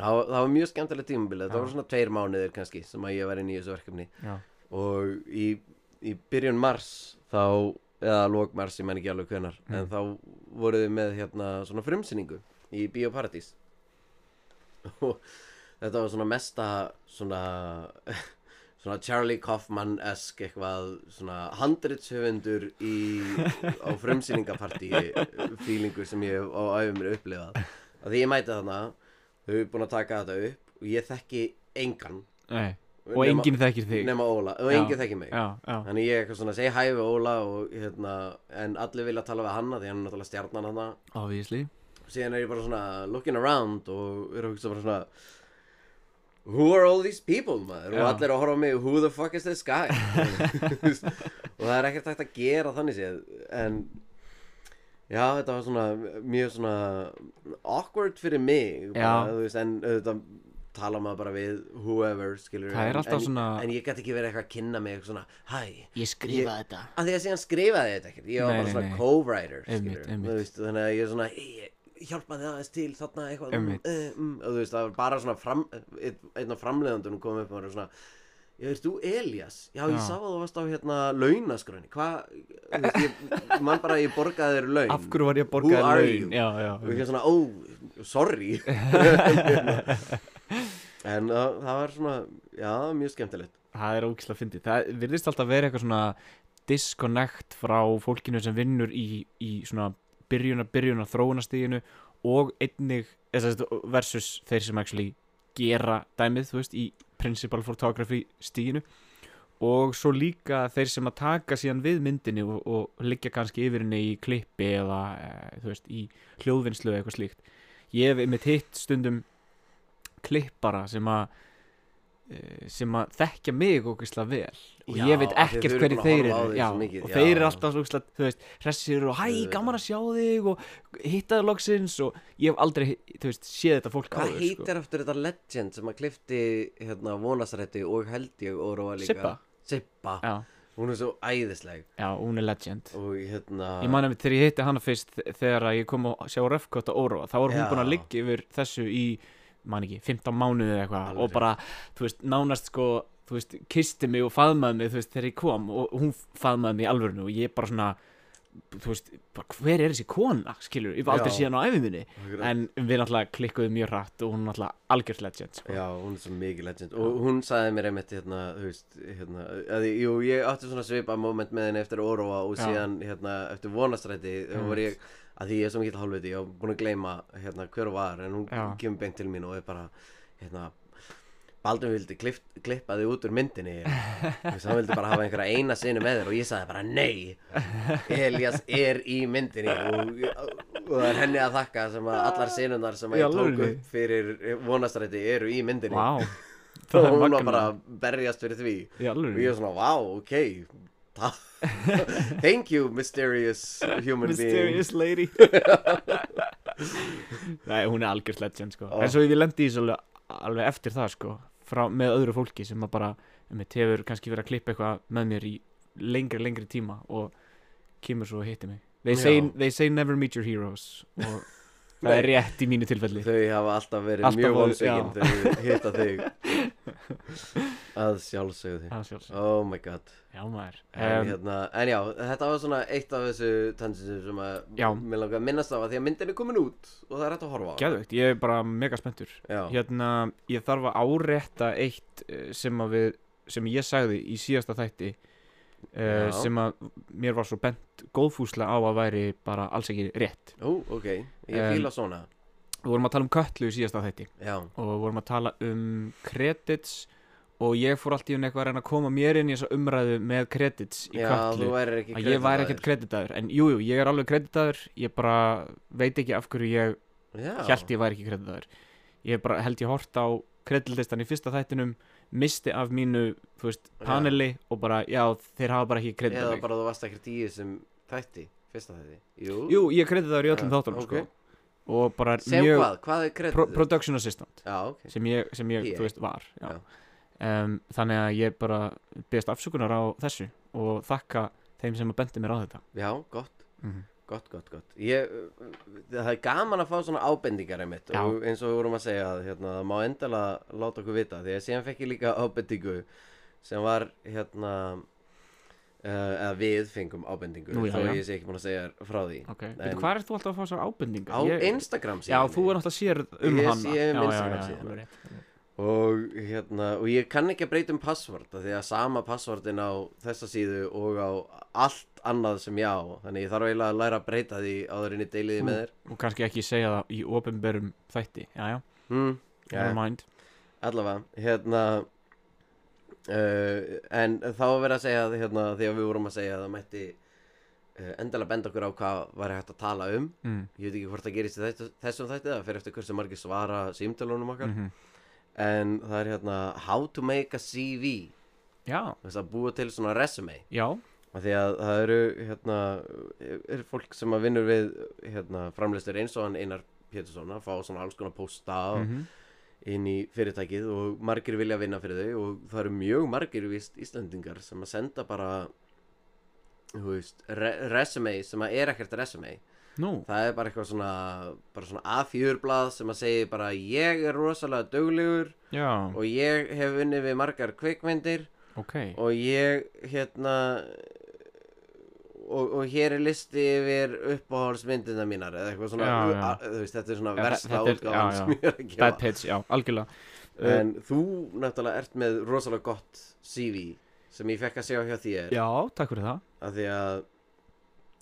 Speaker 3: Það var, það var mjög skemmtilegt tímabilið, þetta
Speaker 1: Já.
Speaker 3: voru svona tveir mánuðir kannski sem að ég var inn í þessu verkefni
Speaker 1: Já,
Speaker 3: og í, í byrjun mars þá, eða lók mars, ég menn ekki alveg hvenar,
Speaker 1: Mm.
Speaker 3: en þá voru við með hérna svona frumsýningu í Bíóparadís og þetta var svona mesta svona svona Charlie Kaufman-esk eitthvað svona handritshöfundur í, á frumsýningapartí feelingu sem ég hef á æfum mér upplifað að því ég mæti þarna þau eru búin að taka þetta upp og ég þekki engan
Speaker 1: nei Og enginn þekkir þig
Speaker 3: nema Óla og
Speaker 1: Já.
Speaker 3: enginn þekki mig
Speaker 1: Já, já,
Speaker 3: þannig ég eitthvað svona segi hæ við Óla og, hérna, en allir vilja tala við hanna því hann er náttúrulega stjarnan hanna
Speaker 1: obviously
Speaker 3: síðan er ég bara svona looking around og er að hugsa bara svona who are all these people maður og
Speaker 1: Já.
Speaker 3: allir að horfa á mig who the fuck is this guy og það er ekkert hægt að gera þannig séð en já þetta var svona mjög svona awkward fyrir mig
Speaker 1: Já.
Speaker 3: bara, þú veist, en auðvitað tala maður bara við whoever skilur
Speaker 1: Það er alltaf
Speaker 3: en,
Speaker 1: svona-
Speaker 3: en ég gæti ekki verið eitthvað að kynna mig eitthvað svona hæ
Speaker 5: Ég skrifaði þetta
Speaker 3: að því að síðan skrifaði ég þetta ekkert ég var
Speaker 1: Nei,
Speaker 3: bara
Speaker 1: nei,
Speaker 3: svona
Speaker 1: nei.
Speaker 3: co-writer
Speaker 1: Einmitt,
Speaker 3: skilurðu.
Speaker 1: einmitt.
Speaker 3: Þú veist, þannig að ég er svona "Ég hjálpaði aðeins til þarna eitthvað mm,
Speaker 1: Einmitt.
Speaker 3: eh, mm," og þú veist það var bara svona fram, einn einn af framleiðandunum kom upp og var svona Já, veist þú Elias? Já, ég
Speaker 1: Já.
Speaker 3: sá að þú varst á hérna launaskröni Hvað, þú veist, ég man bara að ég borgaði þér laun
Speaker 1: Af hverju var ég að
Speaker 3: Who
Speaker 1: borga
Speaker 3: are you?
Speaker 1: laun? Já, já,
Speaker 3: og ég er svona, ó, sorry En uh, það, það var svona, já, mjög skemmtilegt
Speaker 1: það er ógislega fyndið það virðist alltaf verið eitthvað svona disconnect frá fólkinu sem vinnur í, í svona byrjunar byrjunar þróunastíginu og einnig eða sem sagt, versus þeir sem actually gera dæmið, þú veist, í principal photography stíginu og svo líka þeir sem að taka síðan við myndinni og, og liggja kannski yfir henni í klippi eða, e, þú veist, í hljóðvinnslu eða eitthvað slíkt ég hef einmitt hitt stundum klippara sem að eh, sem að þekkja mig ógeðslega vel og
Speaker 3: Já,
Speaker 1: ég veit
Speaker 3: af því
Speaker 1: ekkert
Speaker 3: þau eru
Speaker 1: hverju
Speaker 3: búin
Speaker 1: þeir
Speaker 3: að horfa á
Speaker 1: eru
Speaker 3: þig
Speaker 1: já,
Speaker 3: svo mikið,
Speaker 1: og
Speaker 3: já.
Speaker 1: þeir eru alltaf ógeðslega, þú veist, hressir og hæ,
Speaker 3: Auðvitað.
Speaker 1: gaman að sjá þig og hittaði loksins og ég hef aldrei, hi- þú veist, séð þetta fólk
Speaker 3: Hvað
Speaker 1: áður, sko.
Speaker 3: heitir aftur þetta legend sem að klifti hérna vonasrætti og held ég og róa líka
Speaker 1: Sibba.
Speaker 3: Sippa,
Speaker 1: Já,
Speaker 3: hún er svo æðisleg
Speaker 1: já, hún er legend
Speaker 3: og hérna
Speaker 1: Ég man einmitt þegar ég hitti hana fyrst þe- þegar að ég kom að sjá Röfkot að Óróa þá var hún
Speaker 3: Já.
Speaker 1: búin að liggja yfir þessu í man ekki, 15 mánuði eða eitthvað
Speaker 3: Alveg
Speaker 1: og bara, þú veist, nánast sko þú veist, kisti mig og faðmaði mig, þú veist, þegar ég kom og hún faðmaði mig í alvörinu og ég bara svona þú veist, bara, hver er þessi kona skilur, ég var aldrei
Speaker 3: Já.
Speaker 1: síðan á æfiminni
Speaker 3: Akkurat.
Speaker 1: en við náttúrulega klikkuðum mjög rætt og hún er náttúrulega algjörð legend sko.
Speaker 3: Já, hún er svo mikið legend og hún sagði mér einmitt hérna, þú veist, hérna að, ég- jú, ég átti svona svipa moment með henni eftir Óróa og
Speaker 1: Já.
Speaker 3: síðan, hérna, eftir vonastræti þá var ég, að því ég er svo mikill hálfviti ég var búin að gleyma, hérna, hver hún var en hún
Speaker 1: Já.
Speaker 3: kemur beint til mín og er bara hérna, Baldur vildi klipp, klippa þig út úr myndinni Þú veist, hann vildi bara hafa einhverja eina sinu með þér og ég sagði bara nei Elias er í myndinni og, og það er henni að þakka sem að allar sinunar sem að
Speaker 1: Í
Speaker 3: ég tók
Speaker 1: alvörunni?
Speaker 3: upp fyrir vonastræti eru í myndinni
Speaker 1: Vá,
Speaker 3: og
Speaker 1: það er
Speaker 3: hún var
Speaker 1: magnað.
Speaker 3: bara að berjast fyrir því
Speaker 1: Í
Speaker 3: og ég
Speaker 1: alvöru
Speaker 3: var svona, vá, ok ta- thank you mysterious human
Speaker 1: Mysterious lady Nei, hún er algjörð legend sko.
Speaker 3: Ó.
Speaker 1: En svo ég lendi í þessu alveg, alveg eftir það sko, frá, með öðru fólki sem að bara einmitt, hefur kannski verið að klippa eitthvað með mér í lengri, lengri tíma og kemur svo og hitti mig They say,
Speaker 3: Já.
Speaker 1: they say never meet your heroes og það er rétt í mínu tilfelli
Speaker 3: being þau hafa alltaf verið
Speaker 1: Alltaf
Speaker 3: mjög
Speaker 1: voru- já.
Speaker 3: vonsvegin þau hitta þig að sjálfsögðu þig
Speaker 1: Það er sjálfsagt.
Speaker 3: oh my god
Speaker 1: Já maður
Speaker 3: En,
Speaker 1: um,
Speaker 3: hérna, en já, þetta var svona eitt af þessu tansinsum sem að
Speaker 1: Já.
Speaker 3: mér langar að minnast á að því að myndin er komin út og það er hægt að horfa á
Speaker 1: Gæðvegt, ég er bara mega spenntur
Speaker 3: Já,
Speaker 1: Hérna, ég þarf að árétta eitt eh, sem að við sem ég sagði í síðasta þætti uh,
Speaker 3: Já.
Speaker 1: sem að mér var svo bent góðfúslega á að væri bara alls ekki rétt
Speaker 3: Ó, ok, ég
Speaker 1: Em,
Speaker 3: fíla svona
Speaker 1: Við vorum að tala um köllu í síðasta þætti
Speaker 3: Já,
Speaker 1: og við vorum að tala um credits og ég fór allt í hún eitthvað að reyna að koma mér inn í þessa umræðu með credits í
Speaker 3: já
Speaker 1: köllu
Speaker 3: þú værir ekki
Speaker 1: að ég væri ekkert kreditaður en jújú, jú, ég er alveg kreditaður ég bara veit ekki af hverju ég
Speaker 3: kreditaður
Speaker 1: held ég væri ekki kreditaður ég bara held ég hort á kreditlistan í fyrsta þættinum misti af mínu, þú veist,
Speaker 3: Já.
Speaker 1: paneli og bara, já, þeir hafa bara ekki kreditað
Speaker 3: Eða
Speaker 1: mig
Speaker 3: bara þú varst ekkert í þessum þætti, fyrsta þætti Jú,
Speaker 1: Jú, ég er kreditaður í öllum
Speaker 3: Já,
Speaker 1: þáttunum,
Speaker 3: ok.
Speaker 1: sko og bara
Speaker 3: sem
Speaker 1: mjög
Speaker 3: hvað, hvað er kredit?
Speaker 1: pro production assistant
Speaker 3: Já, ok
Speaker 1: sem ég, sem ég
Speaker 3: Ég.
Speaker 1: þú veist, var já.
Speaker 3: Já.
Speaker 1: Em, Þannig að ég bara beðast afsökunar á þessu og þakka þeim sem að bendi mér á þetta
Speaker 3: Já, gott,
Speaker 1: Mhm.
Speaker 3: gott, gott, gott ég, uh, Það er gaman að fá svona ábendingar einmitt
Speaker 1: Já.
Speaker 3: og eins og við vorum að segja að hérna, það má endalega láta okkur vita því að síðan fekk ég líka ábendingu sem var hérna uh, eða við fengum ábendingu
Speaker 1: Nú, já,
Speaker 3: þó
Speaker 1: já.
Speaker 3: ég sé ekki búin að segja þér frá því
Speaker 1: Ok,
Speaker 3: En-
Speaker 1: veitu, hvað er þú alltaf að fá þessar
Speaker 3: á
Speaker 1: ábendingar? Ég-
Speaker 3: Instagram
Speaker 1: Já,
Speaker 3: síðan
Speaker 1: þú er alltaf sér um
Speaker 3: Ég
Speaker 1: hana
Speaker 3: sé um
Speaker 1: Já, já,
Speaker 3: Instagram
Speaker 1: já,
Speaker 3: síðuna.
Speaker 1: alveg rétt.
Speaker 3: og hérna og ég kann ekki að breyta um passvort af því að sama passvortin á þessa síðu og á allt annað sem ég á þannig ég þarf eiginlega að læra að breyta því áður en ég deili því með þér
Speaker 1: og kannski ekki segja það í ofinberum þætti já, já,
Speaker 3: mm.
Speaker 1: never mind
Speaker 3: allavega hérna uh, en þá var verið að segja að, hérna, því að við vorum að segja að það mætti uh, endalega benda okkur á hvað væri hægt að tala um
Speaker 1: mm.
Speaker 3: ég veit ekki hvort það gerist í þættu- þessum þætti það fyrir eftir hversu margir svara símtölunum okkar
Speaker 1: mhm.
Speaker 3: en það er hérna how to make a CV
Speaker 1: já,
Speaker 3: þess að búa til svona resume
Speaker 1: já,
Speaker 3: Af því að það eru hérna, er fólk sem að vinnur við hérna, framleystur eins og hann Einar Pétursson að fá svona alls konar pósta mm
Speaker 1: mhm.
Speaker 3: inn í fyrirtækið og margir vilja vinna fyrir þau og það eru mjög margir vist Íslandingar sem að senda bara þú veist, re resume sem að er ekkert resume
Speaker 1: nú
Speaker 3: það er bara eitthvað svona, bara svona A4 blað sem að segja bara ég er rosalega duglegur
Speaker 1: já,
Speaker 3: og ég hef unnið við margar kvikmyndir
Speaker 1: ok,
Speaker 3: og ég hérna og, og hér er listi yfir uppáhaldsmyndina mínar eða eitthvað svona
Speaker 1: Já, já.
Speaker 3: a- þú veist, þetta er svona
Speaker 1: Já, þe-
Speaker 3: versta
Speaker 1: þetta er-
Speaker 3: útgáðan
Speaker 1: já, já.
Speaker 3: sem ég er að gefa
Speaker 1: bad pitch, já, algjörlega uh,
Speaker 3: en þú náttúrulega ert með rosalega gott CV sem ég fekk að sjá hjá þér
Speaker 1: Eh, já, takk fyrir það
Speaker 3: af því að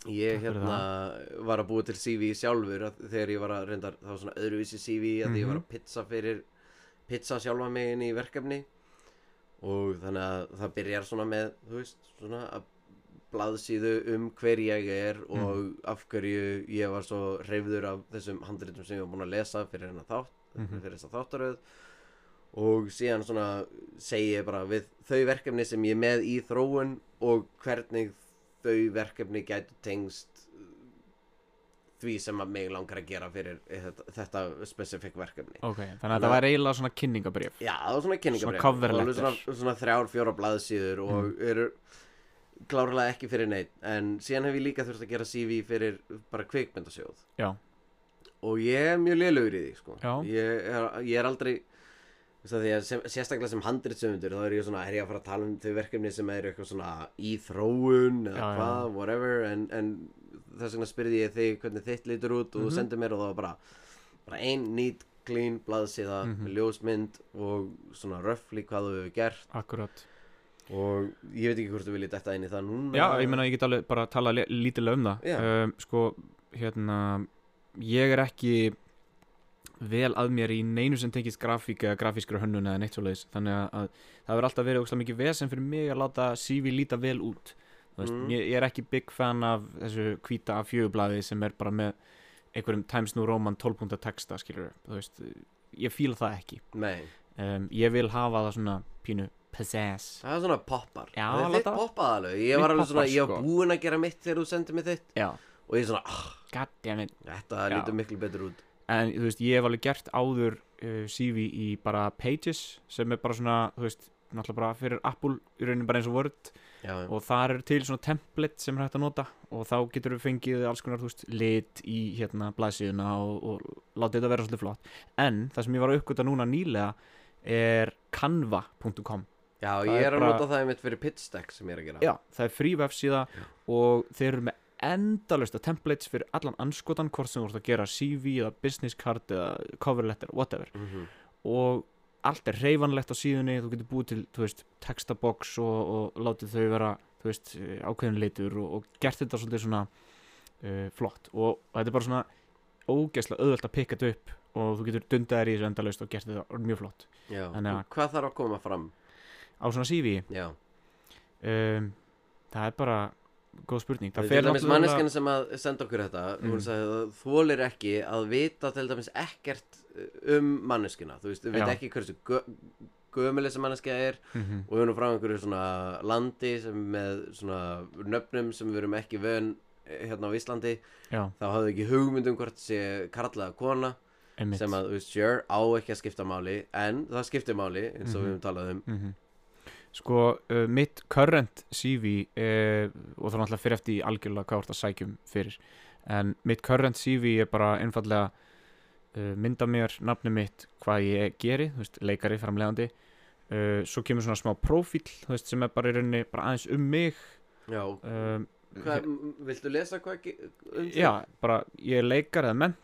Speaker 3: ég
Speaker 1: Takk fyrir
Speaker 3: hérna var að búa til CV sjálfur að, þegar ég var að reyndar þá svona öðruvísi CV að því ég var
Speaker 1: Mhm.
Speaker 3: að pizza fyrir pizza sjálfa mig inn í verkefni og þannig að það byrjar svona með þú veist svona að blaðsíðu um hver ég er
Speaker 1: Mhm.
Speaker 3: og af hverju ég var svo reyfður af þessum handritum sem ég var búin að lesa fyrir hennar þátt
Speaker 1: Mhm.
Speaker 3: fyrir þessa þáttaröð og síðan svona segi ég bara við þau verkefni sem ég er með í þróun og hvernig þau verkefni gætu tengst uh, því sem að mig langar að gera fyrir þetta, þetta specifík verkefni
Speaker 1: ok, þannig að þetta var eiginlega svona kynningabrif
Speaker 3: Já, það var svona kynningabrif
Speaker 1: Svona cover Mhm. letter.
Speaker 3: svona, svona þrjár, fjóra blaðsíður og eru klárlega ekki fyrir neitt en síðan hef ég líka þurft að gera CV fyrir bara kvikmyndasjóð
Speaker 1: já,
Speaker 3: og ég er mjög lélugur í því sko.
Speaker 1: Já.
Speaker 3: ég, er, ég er aldrei þú veist að því að sem, sérstaklega sem handritsöfundur þá er ég svona, er ég að fara að tala um þau verkefni sem eru eitthvað svona í þróun
Speaker 1: Já,
Speaker 3: eða
Speaker 1: já.
Speaker 3: hvað, whatever en, en þess vegna spyrði ég þig hvernig þitt lítur út
Speaker 1: Mhm.
Speaker 3: og þú sendir mér og það var bara, bara ein nýtt clean blaðsíða
Speaker 1: Mhm.
Speaker 3: með ljósmynd og svona röfli hvað þú hefur gert
Speaker 1: akkurat
Speaker 3: og ég veit ekki hvort þú viljið detta inn í það núna
Speaker 1: Já, ég meina ég get alveg bara að tala lítilega um
Speaker 3: Já.
Speaker 1: það um, Sko, hérna Ég er ekki vel að mér í neinu sem tengist grafík eða grafískra hönnun eða neitt svoleiðis þannig að, að það verður alltaf verið ógstlega mikið vesen fyrir mig að láta CV líta vel út Þú veist,
Speaker 3: Mm.
Speaker 1: ég, ég er ekki big fan af þessu hvíta af fjögublaði sem er bara með einhverjum Times New Roman 12. punkta texta skilur þú veist, ég fíla það ekki
Speaker 3: Nei,
Speaker 1: um, ég vil hafa það svona pínu pizzazz
Speaker 3: það er svona poppar
Speaker 1: Já,
Speaker 3: Það er
Speaker 1: alveg
Speaker 3: þitt
Speaker 1: það.
Speaker 3: poppað alveg Ég
Speaker 1: Mitt
Speaker 3: var alveg svona,
Speaker 1: poppar,
Speaker 3: ég var
Speaker 1: sko.
Speaker 3: búinn að gera mitt þegar þú sendið mér þitt
Speaker 1: Já,
Speaker 3: Og ég er svona, ah,
Speaker 1: goddammit
Speaker 3: þetta
Speaker 1: Já.
Speaker 3: lítur miklu betur út
Speaker 1: en þú veist, ég hef alveg gert áður uh, CV í bara Pages sem er bara svona, þú veist, náttúrulega bara fyrir Apple, í rauninu bara eins og Word
Speaker 3: Já,
Speaker 1: og þar eru til svona template sem er hægt að nota og þá getur við fengið alls konar, þú veist, lit í hérna blæsíðuna og, og látið þetta vera svolítið flott en það sem ég var að uppgöta núna nýlega er canva.com
Speaker 3: já
Speaker 1: það
Speaker 3: ég
Speaker 1: er
Speaker 3: er að
Speaker 1: bara-
Speaker 3: nota það einmitt fyrir pitch deck sem ég er að gera
Speaker 1: Já, það er frí vefsíða og þeir eru með endalösta templates fyrir allan anskotan hvort sem þú ert að gera CV eða business card eða cover letter, whatever
Speaker 3: Mhm.
Speaker 1: og allt er reyfanlegt á síðunni þú getur búið til, þú veist, textabox og, og látið þau vera, þú veist, eh, ákveðin litur og, og gert þetta svolítið svona uh, flott og, og þetta er bara svona ógeðslega auðvelt að pikka þetta upp og þú getur dundað þér í þessu endalaust og gert þetta mjög flott
Speaker 3: Já,
Speaker 1: Þannig að-
Speaker 3: og hvað þarf að koma fram?
Speaker 1: á svona CV
Speaker 3: Já,
Speaker 1: um, það er bara góð spurning
Speaker 3: það
Speaker 1: það
Speaker 3: til
Speaker 1: fer
Speaker 3: dæmis
Speaker 1: náttúrulega-
Speaker 3: manneskinn sem að senda okkur þetta
Speaker 1: Mm.
Speaker 3: Hún sagði að þólir ekki að vita til dæmis ekkert um manneskina Þú veist, við veit
Speaker 1: Já.
Speaker 3: ekki hversu gö gömul þessi manneska er
Speaker 1: Mhm.
Speaker 3: og við erum frá einhverju svona landi sem með svona nöfnum sem við erum ekki vön eh, hérna á Íslandi
Speaker 1: Já,
Speaker 3: þá hafðu ekki hugmynd um hvort sé karla eða kona
Speaker 1: einmitt
Speaker 3: sem að, þú veist, sure, á ekki að skipta máli en það skiptir máli eins og við höfum talað um
Speaker 1: Mhm. Sko, uh, mitt current CV uh, og það er náttúrulega fyrir eftir í algjörlega hvað þú ert að sækjum fyrir en mitt current CV er bara einfallega uh, mynda mér nafni mitt hvað ég geri, þú veist, leikari framlegandi uh, svo kemur svona smá prófíl þú veist, sem er bara í rauninni bara aðeins um mig
Speaker 3: Já,
Speaker 1: um,
Speaker 3: hvað, m- viltu lesa hvað ekki um þig?
Speaker 1: Já, bara ég er leikar eða ment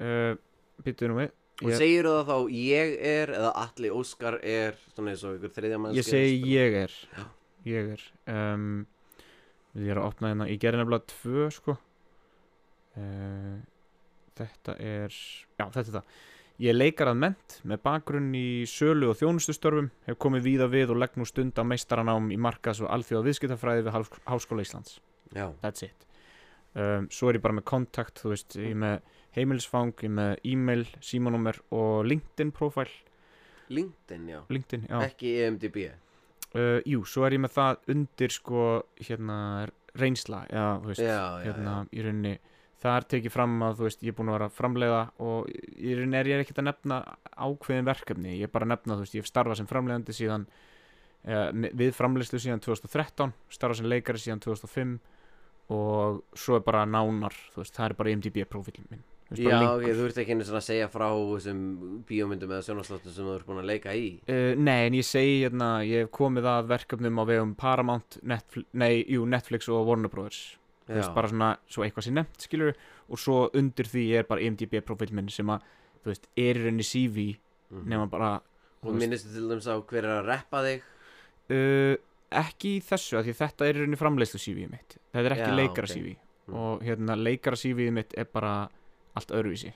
Speaker 1: uh, býttu nú við
Speaker 3: og
Speaker 1: ég-
Speaker 3: segir það þá ég er eða Atli Óskar er svona eins og ykkur þriðja mannski
Speaker 1: Ég segi ég er
Speaker 3: Já.
Speaker 1: Ég er um, Ég er að opna hérna Ég gerði nefnilega tvö sko uh, Þetta er Já þetta er það Ég leikar að ment með bakgrunn í sölu og þjónustustörfum hef komið víða við og legg nú stund á meistaranám í markas og alþjóða viðskiptafræði við Hásk- Háskóla Íslands
Speaker 3: Já,
Speaker 1: that's it um, svo er ég bara með kontakt þú veist, ég er með heimilisfang ég er með e-mail, símanúmer og LinkedIn profile,
Speaker 3: LinkedIn, já,
Speaker 1: LinkedIn, já
Speaker 3: ekki E EMDB
Speaker 1: Uh, jú, svo er ég með það undir sko hérna reynsla eða þú veist,
Speaker 3: Já, já,
Speaker 1: hérna í rauninni þar tekið fram að þú veist ég er búin að vera að framleiða og í rauninni er ég ekkert að nefna ákveðin verkefni, ég er bara að nefna þú veist ég hef starfað sem framleiðandi síðan uh, við framleiðslu síðan 2013 starfað sem leikari síðan 2005 og svo er bara nánar þú veist, það er bara IMDb profilin minn þú veist,
Speaker 3: Já,
Speaker 1: bara
Speaker 3: ok,
Speaker 1: linkur.
Speaker 3: þú ert ekki einu svona að segja frá þessum bíómyndum eða sjónasláttum sem þú ert búin að leika í
Speaker 1: Uh, nei, en ég segi hérna, ég hef komið að verkefnum á vegum Paramount, Netflix, nei, jú, Netflix og Warner Brothers þú veist, bara svona, svo eitthvað sem nefnt, skilur og svo undir því er bara IMDb profil minn sem að, þú veist, er í rauninni CV
Speaker 3: Mhm.
Speaker 1: nema bara,
Speaker 3: Og
Speaker 1: þú veist,
Speaker 3: minnistu til dæmis á hver er að reppa þig
Speaker 1: uh, ekki í þessu, af því þetta er í rauninni framleiðslu CV mitt, þetta er ekki
Speaker 3: Já,
Speaker 1: leikara
Speaker 3: ok.
Speaker 1: CV
Speaker 3: Mm.
Speaker 1: og hérna, leikara CV mitt er bara allt öðruvísi,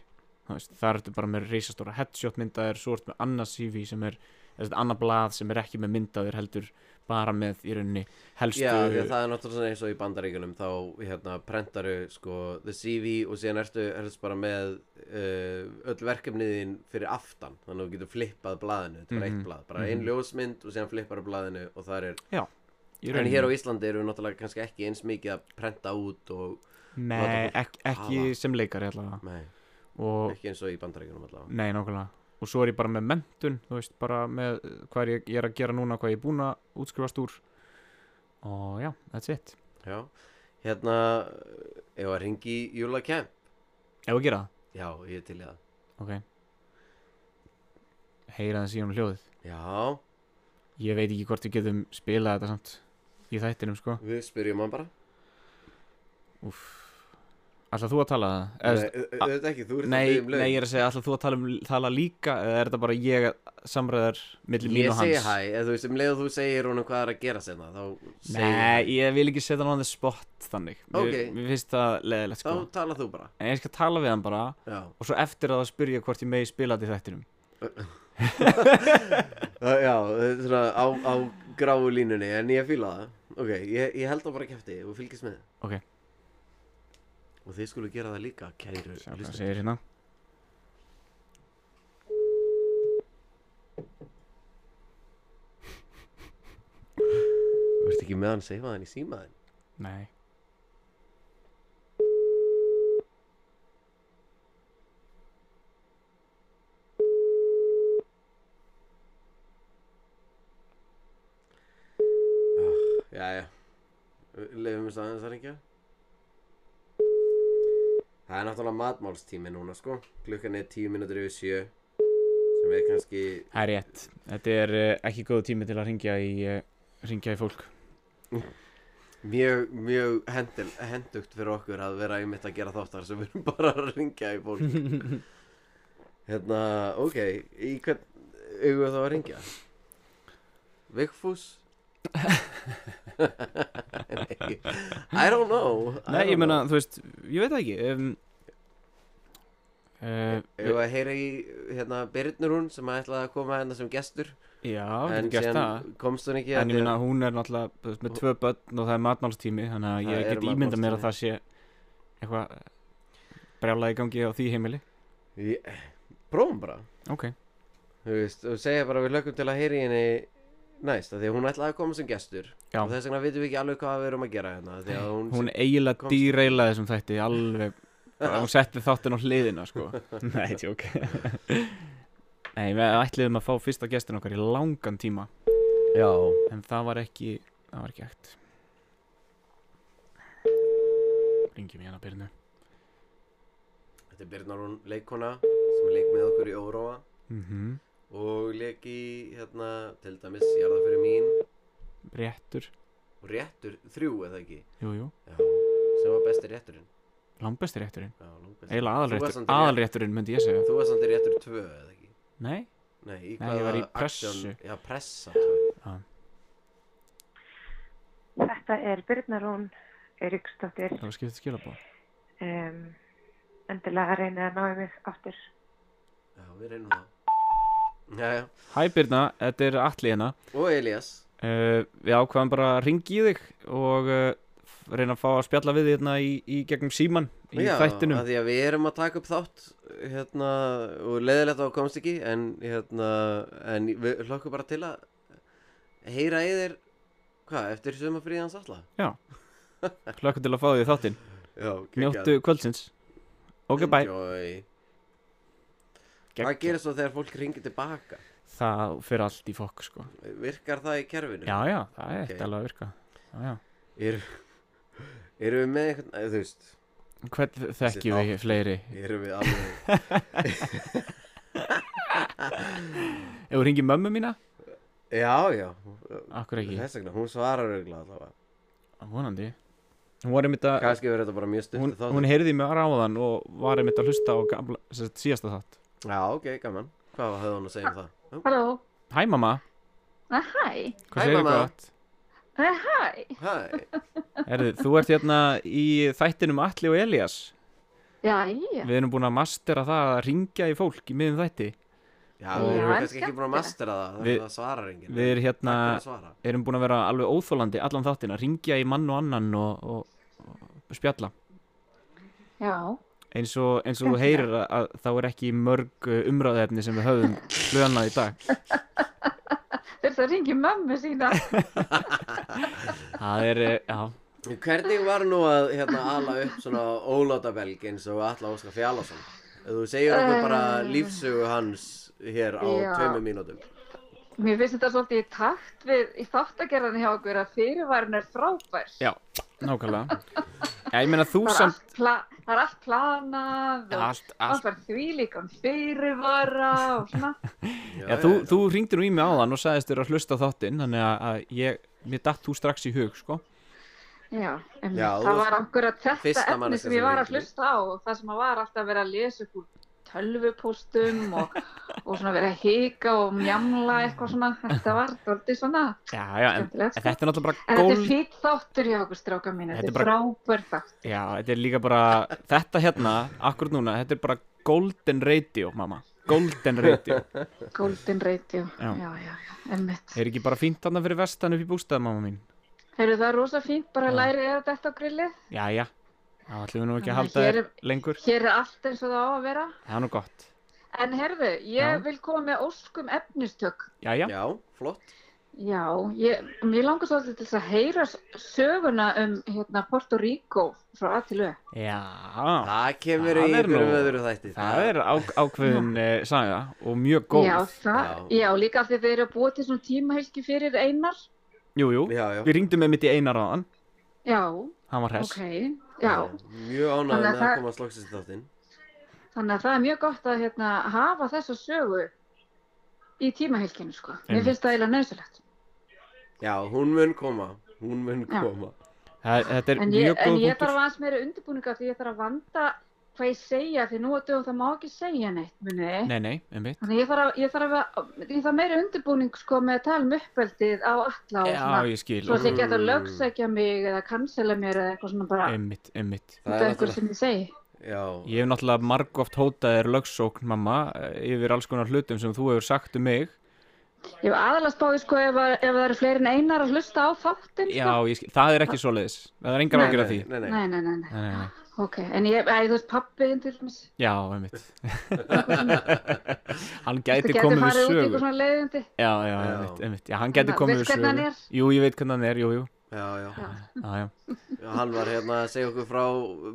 Speaker 1: þú veist, það ertu bara með reisastóra headshot myndaðir, svo ertu með annað CV sem er, eða þetta annað blað sem er ekki með myndaðir heldur, bara með í rauninni helstu
Speaker 3: Já, því að það er náttúrulega svona eins og í bandaríkunum þá hérna prentaru sko the CV og síðan ertu helst bara með uh, öll verkefniðin fyrir aftan þannig að þú getur flippað blaðinu, þetta er bara
Speaker 1: Mhm.
Speaker 3: eitt blað bara ein
Speaker 1: Mhm.
Speaker 3: ljósmynd og síðan flippar blaðinu og það er,
Speaker 1: í
Speaker 3: en
Speaker 1: rauninni.
Speaker 3: hér á Íslandi eru við náttúrulega kannski ekki eins mikið að prenta út og,
Speaker 1: Nei,
Speaker 3: láta fólk
Speaker 1: ekki, ekki
Speaker 3: hafa.
Speaker 1: sem leikari allavega
Speaker 3: nei,
Speaker 1: og
Speaker 3: ekki eins og í bandaríkunum allavega
Speaker 1: Nei, nákvæmlega Og svo er ég bara með mentun, þú veist, bara með uh, hvað er ég, ég er að gera núna, hvað ég er búin að útskrifast úr Og já, that's it
Speaker 3: Já, hérna ef að ringi Júla Kemp
Speaker 1: Ef að gera
Speaker 3: Já, ég er til í það
Speaker 1: það, ok Heyra þessi um hljóðið
Speaker 3: Já,
Speaker 1: Ég veit ekki hvort við getum spilað þetta samt Í þættinum, sko
Speaker 3: við spyrjum hann bara
Speaker 1: Úff, Alltaf þú að tala um það? Eða,
Speaker 3: Nei, auðvitað ekki, þú ert að
Speaker 1: Nei,
Speaker 3: biðja um laun.
Speaker 1: nei, ég er að segja alltaf þú að tala, um, tala líka eða er þetta bara ég að samræðar millir mín
Speaker 3: Ég
Speaker 1: og hans?
Speaker 3: segi hæ, eða þú veist, um leið og þú segir honum hvað er að gera senna, þá segir
Speaker 1: Nei, ég vil ekki setja hann á þess spott þannig mér,
Speaker 3: Ok.
Speaker 1: mér finnst það leðilegt
Speaker 3: Þá
Speaker 1: sko
Speaker 3: talar þú bara,
Speaker 1: En ég skal tala við hann bara
Speaker 3: já.
Speaker 1: og svo eftir að það spyrja hvort ég megi spila þetta í þættinum
Speaker 3: Það- Já, þetta er svona á, á gráu línunni, en ég fíla það. Ok, ég, ég held það bara kæfti og fylgist með.
Speaker 1: Ok.
Speaker 3: Og þið skulle gera það líka, kæru.
Speaker 1: Sjá hvað
Speaker 3: hlustendur.
Speaker 1: segir hérna
Speaker 3: Þú ert ekki með hann seifaðan í símaðin.
Speaker 1: Nei
Speaker 3: Já, já. Leifum við staðins að ringja. Það er náttúrulega matmálstími núna, sko. Klukkan er tíu mínútur yfir sjö. Sem er kannski,
Speaker 1: Það er rétt Þetta er uh, ekki góð tími til að ringja í, uh, ringja í fólk
Speaker 3: mjög, mjög hendil, hendugt fyrir okkur að vera einmitt að gera þáttar sem við erum bara að ringja í fólk hérna, ok í hvern eigum við þá að ringja Vigfús Nei, I don't know I
Speaker 1: Nei, ég
Speaker 3: don't
Speaker 1: meina,
Speaker 3: know.
Speaker 1: þú veist, ég veit það ekki um,
Speaker 3: Eigum
Speaker 1: uh,
Speaker 3: við að heyra í hérna Birnur hún sem ætlaði að koma hérna sem gestur
Speaker 1: Já, þetta gerst það
Speaker 3: komst hún ekki
Speaker 1: En ég
Speaker 3: því að-
Speaker 1: meina, hún er náttúrulega þú veist, með tvö börn og það er matmálstími þannig að
Speaker 3: Það
Speaker 1: ég
Speaker 3: er
Speaker 1: get ímynda mér að
Speaker 3: matmálstími.
Speaker 1: það sé eitthvað brjálað í gangi á því heimili
Speaker 3: Ég- prófum bara
Speaker 1: Ok,
Speaker 3: þú veist, og segja bara við lögum til að heyri henni næst, af því að hún ætlaði að koma sem gestur
Speaker 1: Já.
Speaker 3: og þess vegna vitum við ekki alveg hvað við erum að gera hérna, af því að hún,
Speaker 1: hún eiginlega
Speaker 3: komst-
Speaker 1: dýreilaði þessum þætti alveg bara hún setti þáttinn á hliðina sko Nei, tjók Nei, við ætliðum að fá fyrsta gestin okkar í langan tíma e-
Speaker 3: já,
Speaker 1: En það var ekki, það var ekki hægt Ringjum hérna byrnu
Speaker 3: þetta er Birnar hún leikona sem leik með okkur í Óróa
Speaker 1: mm
Speaker 3: Mhm. og leik í, hérna, til dæmis Jarða fyrir mín
Speaker 1: Réttur,
Speaker 3: og réttur þrjú, eða ekki
Speaker 1: jú, jú
Speaker 3: já, sem var besti rétturinn
Speaker 1: Langbesti rétturinn,
Speaker 3: já, langbesti.
Speaker 1: eiginlega
Speaker 3: Þú
Speaker 1: aðalréttur,
Speaker 3: varst samt í rétt-
Speaker 1: aðalrétturinn myndi ég segja
Speaker 3: þú var samt í réttur tvö, eða ekki
Speaker 1: Nei,
Speaker 3: nei, í
Speaker 1: Nei, ég var í
Speaker 3: hvaða action-
Speaker 1: pressu.
Speaker 3: já, pressa tvö.
Speaker 5: Þetta er Birna Rún Eiríksdóttir.
Speaker 1: það var skiptið skilabóð
Speaker 5: Um, endilega reynið að náðu mig aftur.
Speaker 3: já, við reynum það já, já,
Speaker 1: Hæ Birna, þetta er Atli hérna
Speaker 3: og Elias
Speaker 1: uh, Við ákvaðum bara að ringi í þig og uh, reyna að fá að spjalla við þig hérna í, í gegnum síman í
Speaker 3: Já,
Speaker 1: þættinum
Speaker 3: af því að við erum að taka upp þátt hérna, og leðilegt á að komst ekki en, hérna, en við hlokkum bara til að heyra í þér hvað, eftir sumafríðans alla
Speaker 1: Hlökkum til að fá þig í þáttin
Speaker 3: Já,
Speaker 1: Njóttu kvöldsins Ok, bye
Speaker 3: Enjoy. Hvað
Speaker 1: Geggjað.
Speaker 3: gerir svo þegar fólk ringir tilbaka?
Speaker 1: Það fyrir allt í fokk sko
Speaker 3: Virkar það í kerfinu?
Speaker 1: Já, já, það er
Speaker 3: Ok.
Speaker 1: okay. alveg að virka Já, já.
Speaker 3: Eru erum við með einhvern, eða þú veist
Speaker 1: Hvern þekkjum
Speaker 3: Þessi
Speaker 1: við fleiri?
Speaker 3: erum við alveg
Speaker 1: Ef við ringið mömmu mína?
Speaker 3: Já, já,
Speaker 1: Akkur ekki,
Speaker 3: þess vegna, hún svarar auðvitað allavega
Speaker 1: vonandi Hún var einmitt að
Speaker 3: Kannski verður þetta bara
Speaker 1: hún,
Speaker 3: mjög stutt þáttur.
Speaker 1: hún heyrði mig ráðan og var einmitt að hlusta á gamla, sem sagt, síðasta þátt
Speaker 3: Já, ok, gaman Hvað hafði hún að segja um það?
Speaker 6: Halló,
Speaker 1: Hæ mamma,
Speaker 6: Nei, Ah, hæ,
Speaker 1: hvað
Speaker 3: Hæ,
Speaker 1: segir
Speaker 3: mamma.
Speaker 1: gott?
Speaker 6: Nei, hæ,
Speaker 3: Hæ,
Speaker 1: Herði, þú ert hérna í þættinum Atli og Elias
Speaker 6: já, já,
Speaker 1: Við erum búin að mastera það að ringja í fólk í miðum þætti
Speaker 3: já, við erum
Speaker 6: Já, en
Speaker 3: kannski ekki búin að
Speaker 6: skemmtilegt.
Speaker 3: mastera það, það
Speaker 1: Við-
Speaker 3: er það svarar enginn.
Speaker 1: Við erum hérna,
Speaker 3: Takk fyrir að svara.
Speaker 1: erum búin að vera alveg óþólandi allan þáttin að ringja í mann og annan og, og, og spjalla
Speaker 6: já,
Speaker 1: eins og, eins og þú heyrir að, að þá er ekki mörg uh, umræðefni sem við höfum hlönað í dag
Speaker 6: þess að ringi mömmu sína,
Speaker 1: það er, uh, já,
Speaker 3: Hvernig var nú að hérna ala upp svona ólátabelg eins og Alla Óskar Fjálason? Þú segir okkur bara lífsögu hans hér á
Speaker 6: Um, Já.
Speaker 3: tveimur mínútum.
Speaker 6: mér finnst þetta svolítið í takt við, í þáttagerðan hjá okkur að fyrirværin er frábær,
Speaker 1: já, nákvæmlega já, ég meina þú
Speaker 6: það er,
Speaker 1: samt
Speaker 6: allt, pla, það er allt planað og
Speaker 1: allt,
Speaker 6: allt
Speaker 1: allt
Speaker 6: var því líka um fyrirvara og svona,
Speaker 1: já, þú, þú ringdir nú í mig áðan og sagðist þér að hlusta á þáttinn þannig að, að ég, mér datt þú strax í hug sko.
Speaker 6: Já, um,
Speaker 3: Já, þú
Speaker 6: það
Speaker 3: varst
Speaker 6: var akkurat þetta
Speaker 3: fyrsta
Speaker 6: efni
Speaker 3: manneskja
Speaker 6: sem ég
Speaker 3: sem
Speaker 6: var að
Speaker 3: hringdi.
Speaker 6: hlusta á og það sem að var alltaf verið að lesa upp úr tölvupóstum og, og svona verið að hika og mjamla eitthvað svona, þetta var daldið svona
Speaker 1: Já, já, en,
Speaker 6: skemmtilegt
Speaker 1: en
Speaker 6: sko.
Speaker 1: þetta er náttúrulega bara
Speaker 6: En þetta er
Speaker 1: gold-
Speaker 6: fýtt þáttur hjá okkur stráka mín,
Speaker 1: Þetta
Speaker 6: þetta
Speaker 1: er
Speaker 6: er
Speaker 1: bara-
Speaker 6: frábær þáttur.
Speaker 1: Já, þetta er líka bara, þetta hérna, akkurat núna, þetta er bara golden radio, mamma. Golden radio.
Speaker 6: Golden Radio,
Speaker 1: Já.
Speaker 6: já, já, já, emmitt.
Speaker 1: Er ekki bara fínt þarna fyrir vestan upp í bústað, mamma mín?
Speaker 6: Heyrðu það er rosa fínt, bara
Speaker 1: Já.
Speaker 6: lærið er þetta á grillið.
Speaker 1: Já, já. Þá ætlum við nú ekki að
Speaker 6: Þannig
Speaker 1: halda
Speaker 6: að
Speaker 1: þér
Speaker 6: hér er-
Speaker 1: lengur.
Speaker 6: Hér er allt eins og það á að vera.
Speaker 1: Það er nú gott.
Speaker 6: En heyrðu, ég
Speaker 1: Já.
Speaker 6: vil koma með óskum efnistök.
Speaker 1: Já, já.
Speaker 3: Já, flott
Speaker 6: Já, ég, mér langar svolítið til þess að heyra s- söguna um hérna, Porto Rico frá A til Ö.
Speaker 1: Já.
Speaker 3: Það kemur í
Speaker 1: Það er
Speaker 3: einhverjum
Speaker 1: nú-
Speaker 3: öðru þætti
Speaker 1: Það er á, ákveðin uh, saga og mjög góð.
Speaker 6: Já, það,
Speaker 3: Já.
Speaker 6: já. líka af því þeir eru að búa til svona tímahelgi fyrir einar.
Speaker 1: Jú, jú.
Speaker 3: Já, já
Speaker 1: Við ringdum með mitt í einar áðan.
Speaker 6: Já,
Speaker 1: Hann var hess.
Speaker 6: ok, já.
Speaker 3: Mjög ánægð
Speaker 6: Þannig
Speaker 3: með
Speaker 6: að
Speaker 3: að
Speaker 6: það-
Speaker 3: koma slóksins í þáttinn
Speaker 6: Þannig að það er mjög gott að hérna, hafa þessa sögu í tímahelginu, sko.
Speaker 1: Einmitt.
Speaker 6: Mér finnst það eiginlega nöðsulegt.
Speaker 3: Já, hún mun koma Hún mun
Speaker 6: Já.
Speaker 3: koma
Speaker 1: Það, þetta er
Speaker 6: En ég,
Speaker 1: mjög
Speaker 6: en
Speaker 1: góð
Speaker 6: ég þarf
Speaker 1: punktur.
Speaker 6: aðeins meira undirbúninga því ég þarf að vanda hvað ég segja því nú að dögum það má ekki segja neitt, muniði.
Speaker 1: Nei, nei, um mitt.
Speaker 6: Þannig ég þarf, að, ég, þarf að, ég þarf meira undirbúning sko með að tala um uppeldið á alla og
Speaker 1: Já,
Speaker 6: svona.
Speaker 1: ég skil.
Speaker 6: Svo að ég
Speaker 3: Mm.
Speaker 6: geta að lögsækja mig eða kansela mér eða eitthvað svona bara
Speaker 1: Um mitt, um mitt.
Speaker 6: út af eitthvað sem ég segi.
Speaker 3: Já,
Speaker 1: Ég hef náttúrulega margóft hótað þér lögsókn, mamma, eh, yfir alls konar hlutum sem þú hefur sagt um mig.
Speaker 6: Ég hef aðalast báði sko ef, að, ef það eru fleiri en einar að hlusta á þáttinn sko.
Speaker 1: Já, ég, skil- það er ekki svoleiðis. Það er engar
Speaker 6: Nei,
Speaker 1: ágjör af því.
Speaker 3: Nei, nei,
Speaker 6: Nei, nei, nei, nei.
Speaker 1: Nei, nei, nei.
Speaker 6: Ok, en ég, æ, þú veist pappiðin til dæmis.
Speaker 1: Já, einmitt. hann gæti
Speaker 6: Þú
Speaker 1: komið
Speaker 6: getur
Speaker 1: með
Speaker 6: farið út í
Speaker 1: sögu.
Speaker 6: eitthvað svona leiðindi.
Speaker 1: Já, já,
Speaker 3: Já.
Speaker 1: einmitt, einmitt. Já, hann gæti
Speaker 6: Þannig að
Speaker 1: komið með
Speaker 6: veist hvernig hann
Speaker 1: sögu.
Speaker 6: er?
Speaker 1: Jú, ég veit hvernig hann er, jú, jú.
Speaker 3: já, já
Speaker 1: Já, já.
Speaker 3: Hann var hérna að segja okkur frá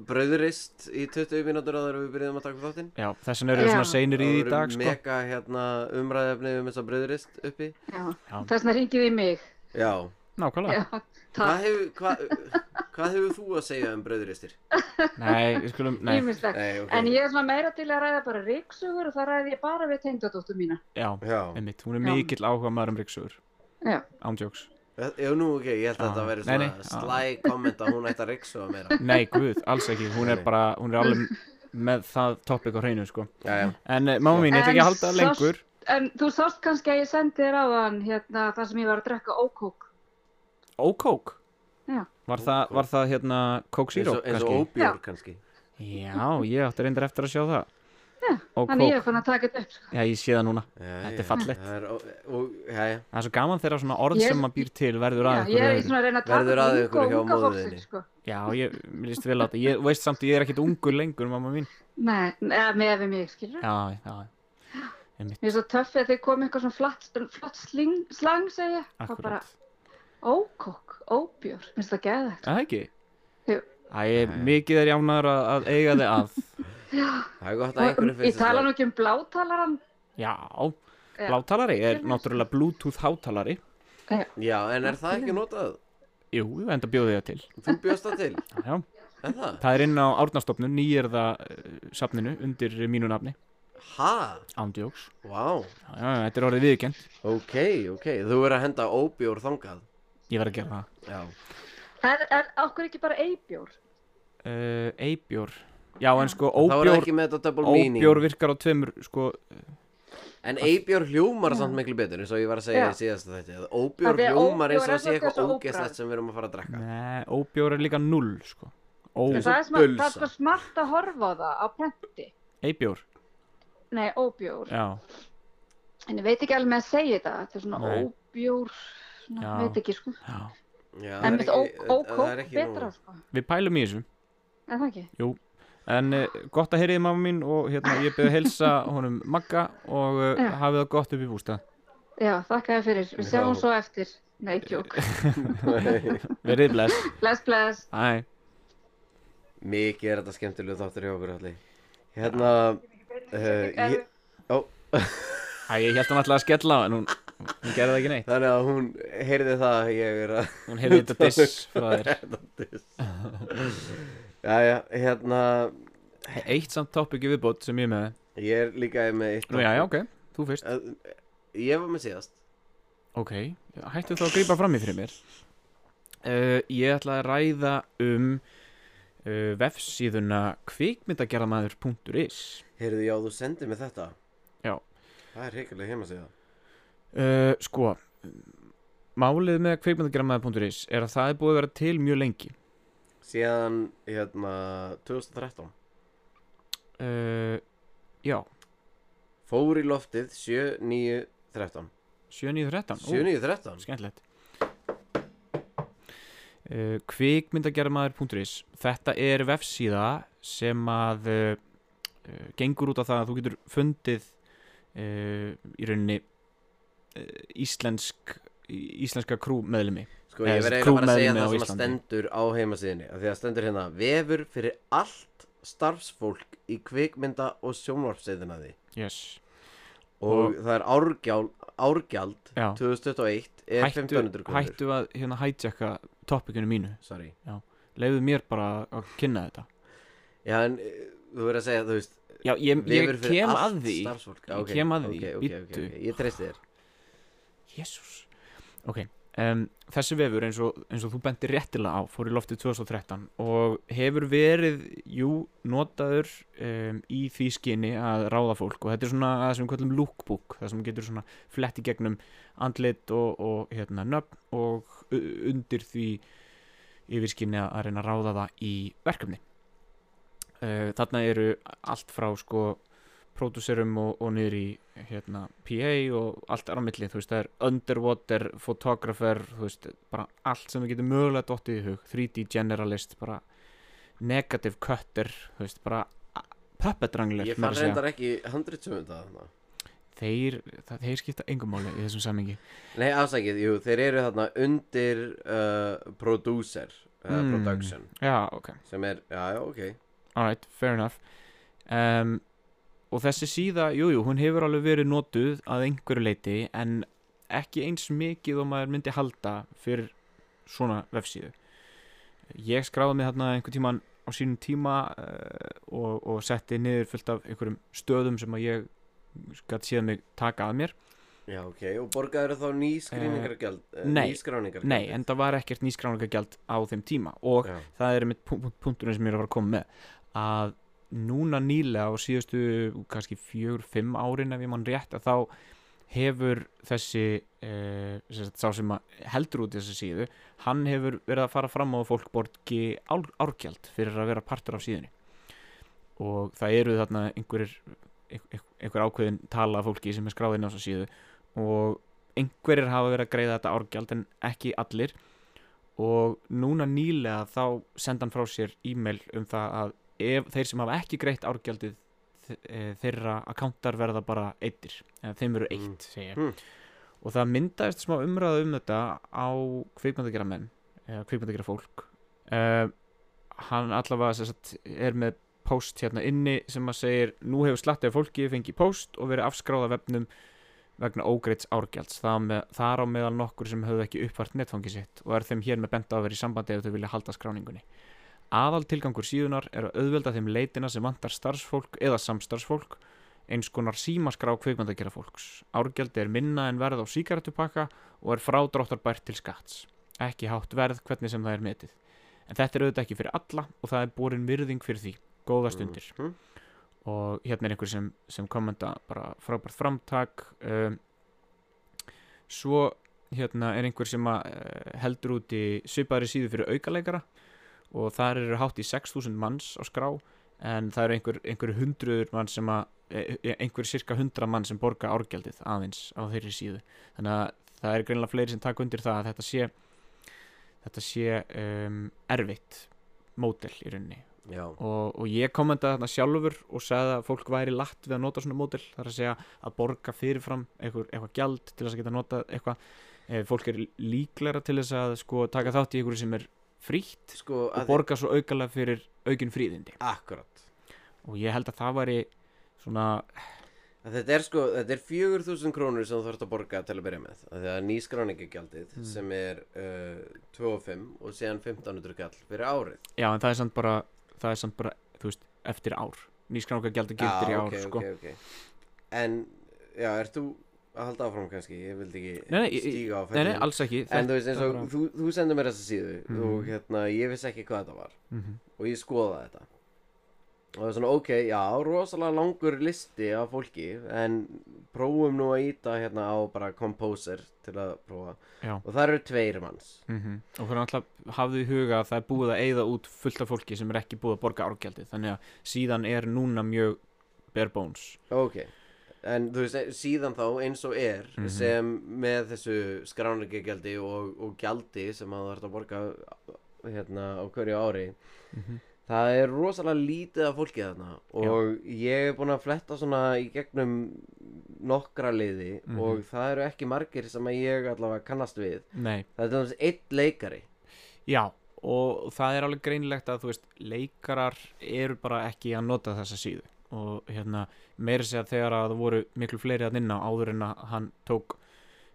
Speaker 3: bröðurist í 20 mínútur áður en við byrjuðum að taka upp þáttinn
Speaker 1: já þessan eru við
Speaker 6: Já.
Speaker 1: svona seinir í því í dag, sko.
Speaker 3: Mega hérna umræðefni um þessa bröðurist uppi
Speaker 6: Já,
Speaker 1: Já.
Speaker 6: þess vegna ringið í mig.
Speaker 3: Já,
Speaker 1: Nákvæmlega.
Speaker 6: Já,
Speaker 3: hvað
Speaker 6: takk,
Speaker 3: hefur hva, hvað hefur þú að segja um bröðuristir?
Speaker 1: Nei, við skulum, nei.
Speaker 6: ímislegt.
Speaker 3: Nei, ok
Speaker 6: En ég er svona meira til að ræða bara ríksugur og það ræði ég bara við tengdadóttur mína.
Speaker 1: Já,
Speaker 3: Já,
Speaker 1: einmitt. Hún er
Speaker 6: Já.
Speaker 1: mikill áhuga maður um ríksugur.
Speaker 6: Já.
Speaker 1: Ándjóks.
Speaker 3: já, nú ok, ég held að
Speaker 1: Já.
Speaker 3: þetta veri
Speaker 1: Ah, Nei, nei,
Speaker 3: svona
Speaker 1: já.
Speaker 3: slæ komment að hún ætti að reyksuga meira
Speaker 1: Nei, guð, alls ekki. Hún er
Speaker 3: Nei.
Speaker 1: bara, hún er alveg með það topic á hreinu, sko.
Speaker 3: Já, já,
Speaker 1: En eh, mamma mín, ég ætla ekki að halda það
Speaker 6: En sást-
Speaker 1: lengur.
Speaker 6: En þú sást kannski að ég sendi þér á hann hérna þar sem ég var að drekka ókók.
Speaker 1: Ókók?
Speaker 6: Já.
Speaker 1: Var það, var það hérna Coke
Speaker 3: eins
Speaker 1: Zero
Speaker 3: og, eins og
Speaker 1: kannski?
Speaker 3: óbjór kannski
Speaker 1: Já, ég átti reyndar eftir að sjá það.
Speaker 6: Já,
Speaker 1: og
Speaker 6: Þannig ég
Speaker 1: Coke.
Speaker 6: er fann að taka þetta upp. Sko.
Speaker 1: Já, ég sé það núna.
Speaker 3: já,
Speaker 1: Þetta er
Speaker 3: já.
Speaker 1: fallegt.
Speaker 3: Það er ó- og, já, já,
Speaker 1: Það er svo gaman þegar svona orð
Speaker 6: Ég-
Speaker 1: sem maður býr til verður
Speaker 6: Já,
Speaker 1: að
Speaker 6: ég
Speaker 1: einhverju
Speaker 6: er í
Speaker 1: öðru.
Speaker 6: svona að reyna að tala
Speaker 3: Verður að
Speaker 6: við
Speaker 3: ykkur hjá
Speaker 6: unga
Speaker 3: móður
Speaker 6: fólksins,
Speaker 3: þinni.
Speaker 6: Sko.
Speaker 1: Já, ég, mér líst vel á þetta. Ég þú veist samt, ég er ekkit ungur lengur, mamma mín.
Speaker 6: Nei, neða, með við mig, skilur.
Speaker 1: Já, já,
Speaker 6: Mér er svo töffið að þið komið eitthvað svona flatt, flatt sling, slang, segja. Akkurat. Bara
Speaker 1: akkurat.
Speaker 6: ókók, óbjör, minnst það geða þetta.
Speaker 1: Það er ekki?
Speaker 6: Jú.
Speaker 1: Æ, ég- mikið er jánaður að, að eiga þig að.
Speaker 3: það er gott að einhverju
Speaker 6: Ég
Speaker 3: finnst
Speaker 6: tala nú ekki um blátalaran.
Speaker 1: Já,
Speaker 6: Já.
Speaker 1: blátalari er
Speaker 6: Ég-
Speaker 1: náttúrulega Bluetooth hátalari.
Speaker 3: Já, en er það ekki notað?
Speaker 1: Jú, enda bjóði það til.
Speaker 3: Þú bjóst það til,
Speaker 1: Já, já.
Speaker 3: en það?
Speaker 1: Það er inn á Árnastofnun, nýjörða uh, safninu undir mínu nafni,
Speaker 3: Ha?
Speaker 1: Ándjóks.
Speaker 3: Vá,
Speaker 1: Já, já, já, þetta er orðið viðurkend.
Speaker 3: ok, ok, þú er að henda óbjór þangað
Speaker 1: Ég verð að gera það.
Speaker 3: Já,
Speaker 6: En, en okkur ekki bara eibjór?
Speaker 1: Uh, Eibjór. Já, en sko,
Speaker 3: það var
Speaker 1: óbjór,
Speaker 3: ekki með þetta double meaning
Speaker 1: óbjór virkar á tveimur, sko,
Speaker 3: En Eibjörn hljómar
Speaker 6: Já.
Speaker 3: samt miklu betur eins og ég var að segja
Speaker 6: Já.
Speaker 3: í síðasta þetta að Óbjörn
Speaker 6: Af því að
Speaker 3: hljómar eins
Speaker 6: óbjór
Speaker 3: og
Speaker 6: er
Speaker 3: sé
Speaker 6: svolítið
Speaker 3: eitthvað
Speaker 6: eins og
Speaker 3: ógeðslegt
Speaker 6: óbragð.
Speaker 3: sem við erum að fara að drekka
Speaker 1: ne, óbjór er líka null, sko. Ó,
Speaker 6: Það
Speaker 3: Eins og
Speaker 6: er, smart, það
Speaker 3: bulsa.
Speaker 6: er sko smart að horfa á það á prenti.
Speaker 1: eibjór,
Speaker 6: Nei, óbjór.
Speaker 1: já,
Speaker 6: En ég veit ekki alveg með að segja þetta. Þetta er svona
Speaker 1: Nei.
Speaker 6: óbjór, svona,
Speaker 1: Já.
Speaker 6: veit ekki sko.
Speaker 1: já.
Speaker 3: Já, það
Speaker 6: En
Speaker 3: er
Speaker 6: mitt
Speaker 3: ekki- það er
Speaker 6: ókók
Speaker 3: ekki
Speaker 6: betra
Speaker 3: nóg.
Speaker 6: sko.
Speaker 1: Við pælum í þessu.
Speaker 6: Er það ekki?
Speaker 1: En uh, gott að heyriði mamma mín og hérna, ég byrði að helsa honum Magga og uh,
Speaker 6: Já.
Speaker 1: hafið það gott upp í bústað.
Speaker 6: Já, þakka þér fyrir. Við
Speaker 3: Já.
Speaker 6: sjáum svo eftir. Nei, kjók.
Speaker 1: Verið bless.
Speaker 6: Bless, bless.
Speaker 1: Æ,
Speaker 3: Mikið er þetta skemmtilega þáttur hjá okkur allir Hérna uh, ég, ó,
Speaker 1: Æ ég held hann alltaf að skella á en hún, hún gerði það ekki neitt.
Speaker 3: Þannig að hún heyrði það að ég er að
Speaker 1: Hún heyrði þetta diss frá þér.
Speaker 3: Þetta diss Jæja, hérna
Speaker 1: Eitt samt topic í viðbót sem ég er með
Speaker 3: Ég er líka með eitt
Speaker 1: Nú, já, já, ok, þú fyrst
Speaker 3: Ég var með síðast
Speaker 1: Ok, hættu þá að grípa fram í fyrir mér Uh, ég ætla að ræða um uh, vefsíðuna kvikmyndagerðamaður.is
Speaker 3: Heyrðu, já, þú sendir mér þetta
Speaker 1: Já.
Speaker 3: Það er hreikilega heima sig það
Speaker 1: uh, Sko, málið með kvikmyndagerðamaður.is er að það er búið að vera til mjög lengi
Speaker 3: Síðan, hérna, 2013
Speaker 1: uh, Já,
Speaker 3: Fór í loftið 7-9-13
Speaker 1: 7.9.13 Ó,
Speaker 3: 7-9-13?
Speaker 1: Skemmtilegt uh, Kvikmyndagerðamaður.is Þetta er vefsíða sem að uh, uh, gengur út á það að þú getur fundið uh, í rauninni uh, íslensk íslenska krúmeðlumi
Speaker 3: Sko,
Speaker 1: Eða
Speaker 3: ég verði
Speaker 1: þessi
Speaker 3: eiginlega bara að
Speaker 1: crewmenn
Speaker 3: segja
Speaker 1: á
Speaker 3: það sem að
Speaker 1: Íslandi.
Speaker 3: stendur á heimasíðinni af Því að stendur hérna Vefur fyrir allt starfsfólk í kvikmynda og sjónvarpseiðinaði
Speaker 1: yes.
Speaker 3: Og
Speaker 1: Og-
Speaker 3: það er árgjál, árgjald
Speaker 1: Já.
Speaker 3: 2021 er
Speaker 1: hættu,
Speaker 3: 1500 krónur
Speaker 1: hættu að hérna hætjaka topikinu mínu
Speaker 3: Sorry
Speaker 1: leiðu mér bara að kynna þetta
Speaker 3: Já, en eh, þú verður að segja, þú veist
Speaker 1: Já, ég, ég
Speaker 3: vefur fyrir
Speaker 1: kem
Speaker 3: allt
Speaker 1: að því
Speaker 3: starfsfólk.
Speaker 1: Ég
Speaker 3: Ok,
Speaker 1: kem að því,
Speaker 3: ok, ok,
Speaker 1: bíddu.
Speaker 3: ok, ok. Ég treysti þér
Speaker 1: Jésús Ok, um, þessi vefur eins og, eins og þú bentir réttilega á fór í loftið 2013 og hefur verið, jú, notaður um, í því skinni að ráða fólk og þetta er svona það sem við kallum lookbook, það sem getur svona flett í gegnum andlit og, og hérna nöfn og u- undir því yfirskinni að reyna að ráða það í verkefni uh, Þarna eru allt frá sko pródúserum og, og niður í hérna, PA og allt er á milli þú veist, það er underwater, photographer þú veist, bara allt sem við getum mögulega dottið í hug, 3D generalist bara negative cutter þú veist, bara a- puppet wrangler
Speaker 3: Ég
Speaker 1: meira
Speaker 3: fann
Speaker 1: að segja.
Speaker 3: reyndar ekki handritsum um það þarna.
Speaker 1: þeir, það, þeir skipta engum máli í þessum samhengi
Speaker 3: Nei, afsakið, jú, þeir eru þarna undir uh, producer uh,
Speaker 1: Mm.
Speaker 3: Production
Speaker 1: já, ok,
Speaker 3: Sem er, já, já, ok
Speaker 1: alright, fair enough um, og þessi síða jújú, jú, hún hefur alveg verið notuð að einhverju leiti en ekki eins mikið og maður myndi halda fyrir svona vefsíðu ég skráði mig þarna einhver tíman á sínum tíma uh, og, og setti niður fullt af einhverjum stöðum sem að ég gæti síðan mig taka að mér
Speaker 3: Já, ok, og borgaður þá nýskráningargjald uh,
Speaker 1: Eh, nei,
Speaker 3: nýskráningargjald
Speaker 1: nei, en það var ekkert nýskráningagjald á þeim tíma og
Speaker 3: Já,
Speaker 1: það er mitt punkturinn sem ég er að fara að koma með að núna nýlega á síðustu kannski fjögur, fimm árin ef ég mann rétt að þá hefur þessi uh, sagt, sá sem að heldur út í þessu síðu hann hefur verið að fara fram á að fólk borgi ár, árgjald fyrir að vera partur af síðunni og það eru þarna einhverjir einhver, einhver ákveðin tala af fólki sem er skráðin á þessu síðu og einhverjir hafa verið að greiða þetta árgjald en ekki allir og núna nýlega þá senda hann frá sér e-mail um það að ef þeir sem hafa ekki greitt árgjaldið þe- eh, þeirra akkántar verða bara eittir eða þeim eru eitt,
Speaker 3: Mm.
Speaker 1: segja ég
Speaker 3: Mm.
Speaker 1: og það myndaðist smá umræða um þetta á kvikmyndagjara menn eða kvikmyndagjara fólk uh, hann allavega sem sagt, er með post hérna inni sem að segir nú hefur slattið af fólki fengið post og verið afskráða vefnum vegna ógreits árgjalds það með, þar á meðal nokkur sem höfðu ekki uppvart netfangi sitt og er þeim hér með benda á að vera í sambandi ef þau vilja halda skráningunni aðal tilgangur síðunar er að auðvelda þeim leitina sem vantar starfsfólk eða samstarfsfólk eins konar símaskrá kvikmyndagjara fólks. Árgjaldi er minna en verð á sígarettupakka og er frádráttarbært til skatts. Ekki hátt verð hvernig sem það er metið. En þetta er auðvitað ekki fyrir alla og það er borin virðing fyrir því. Góða stundir.
Speaker 3: Mhm.
Speaker 1: Og hérna er einhver sem, sem kommenta bara frábært framtak. Um, svo hérna er einhver sem að, uh, heldur út í svipaðri síðu fyrir aukaleikara og þar eru hátt í 6.000 manns á skrá en það eru einhver, einhver hundruður mann sem að e- e- einhver cirka hundra mann sem borga árgjaldið aðeins á þeirri síðu þannig að það er greinlega fleiri sem taka undir það að þetta sé þetta sé um, erfitt mótel í rauninni
Speaker 3: já,
Speaker 1: og, og ég kommentaði þarna sjálfur og sagði að fólk væri latt við að nota svona mótil þar að segja að borga fyrirfram eitthvað, eitthvað gjald til þess að geta nota eitthvað eh, fólk er líklara til þess að sko taka þátt í einhverju sem er frítt
Speaker 3: sko
Speaker 1: og borga svo aukalega fyrir aukin fríðindi
Speaker 3: Akkurat
Speaker 1: og ég held að það væri svona
Speaker 3: Að Þetta er sko, þetta er 4000 krónur sem þú þarfst að borga til að byrja með Af því að nýskráningargjaldið
Speaker 1: Hmm.
Speaker 3: sem er uh, 2,5 og síðan 1500 kall fyrir árið
Speaker 1: já en það er samt bara það er samt bara þú veist eftir ár sko. nýskráninga gildir í ár
Speaker 3: ok,
Speaker 1: sko
Speaker 3: ok, ok. En, já, ert þú að halda áfram kannski, ég vildi ekki
Speaker 1: Nei, nei, ég-
Speaker 3: stíga á
Speaker 1: Nei, nei,
Speaker 3: fellin.
Speaker 1: alls ekki
Speaker 3: En þú veist eins og
Speaker 1: bara-
Speaker 3: þú, þú sendur mér þessa síðu
Speaker 1: Mhm.
Speaker 3: og hérna ég vissi ekki hvað þetta var
Speaker 1: Mhm.
Speaker 3: og ég skoðaði þetta og það er svona ok, já, rosalega langur listi af fólki en prófum nú að íta hérna á bara composer til að prófa
Speaker 1: Já.
Speaker 3: og það eru tveir manns
Speaker 1: Mhm. Og fyrir náttúrulega hafðu í huga að það er búið að eyða út fullt af fólki sem er ekki búið að borga árgjaldið Þannig að síðan er núna mjög bare bones
Speaker 3: Ok, en þú veist, eh, síðan þá eins og er
Speaker 1: Mhm.
Speaker 3: sem með þessu skráningagjaldi og, og gjaldi sem að það er að borga hérna á hverju ári
Speaker 1: Mhm.
Speaker 3: það er rosalega lítið af fólki þarna og ég er búin að fletta svona í gegnum nokkra liði
Speaker 1: Mhm.
Speaker 3: og það eru ekki margir sem að ég allavega kannast við
Speaker 1: Nei,
Speaker 3: það er til dæmis einn leikari
Speaker 1: já, og það er alveg greinilegt að þú veist, leikarar eru bara ekki að nota þessa síðu Og hérna, meiri segja þegar að það voru miklu fleiri að nynna áður en að hann tók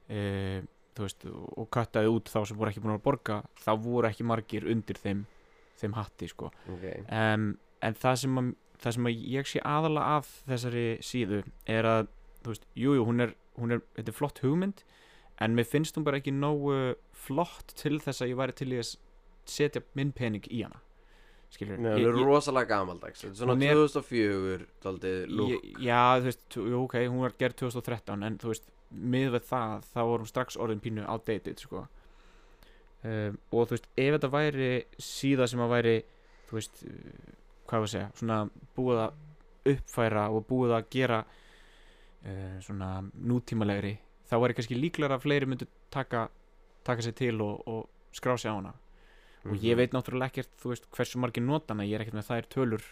Speaker 1: e, Þú veist, og kattaði út þá sem voru ekki búin að borga Þá voru ekki margir undir þeim, þeim hatti, sko
Speaker 3: okay.
Speaker 1: um, en það sem, að, það sem að ég sé aðala af þessari síðu er að þú veist, jú, jú, hún er, hún er þetta er flott hugmynd en mér finnst hún bara ekki nógu flott til þess að ég væri til í að s- setja minn pening í hana skilur
Speaker 3: Nei, hann er rosalega gamaldags Þetta er svona
Speaker 1: Hún er-
Speaker 3: 2004 daldið lúk
Speaker 1: ég, já, þú veist, tú- jú, ok, hún var gerð 2013 en þú veist, miðveð það þá var hún strax orðin pínu outdated sko. um, og þú veist ef þetta væri síða sem að væri þú veist, uh, hvað var að segja svona búið að uppfæra og búið að gera uh, svona nútímalegri þá væri kannski líklar að fleiri myndu taka, taka sér til og, og skrá sig á hana og
Speaker 3: Mhm.
Speaker 1: ég veit náttúrulega ekkert þú veist hversu margir notana ég er ekkert með þær tölur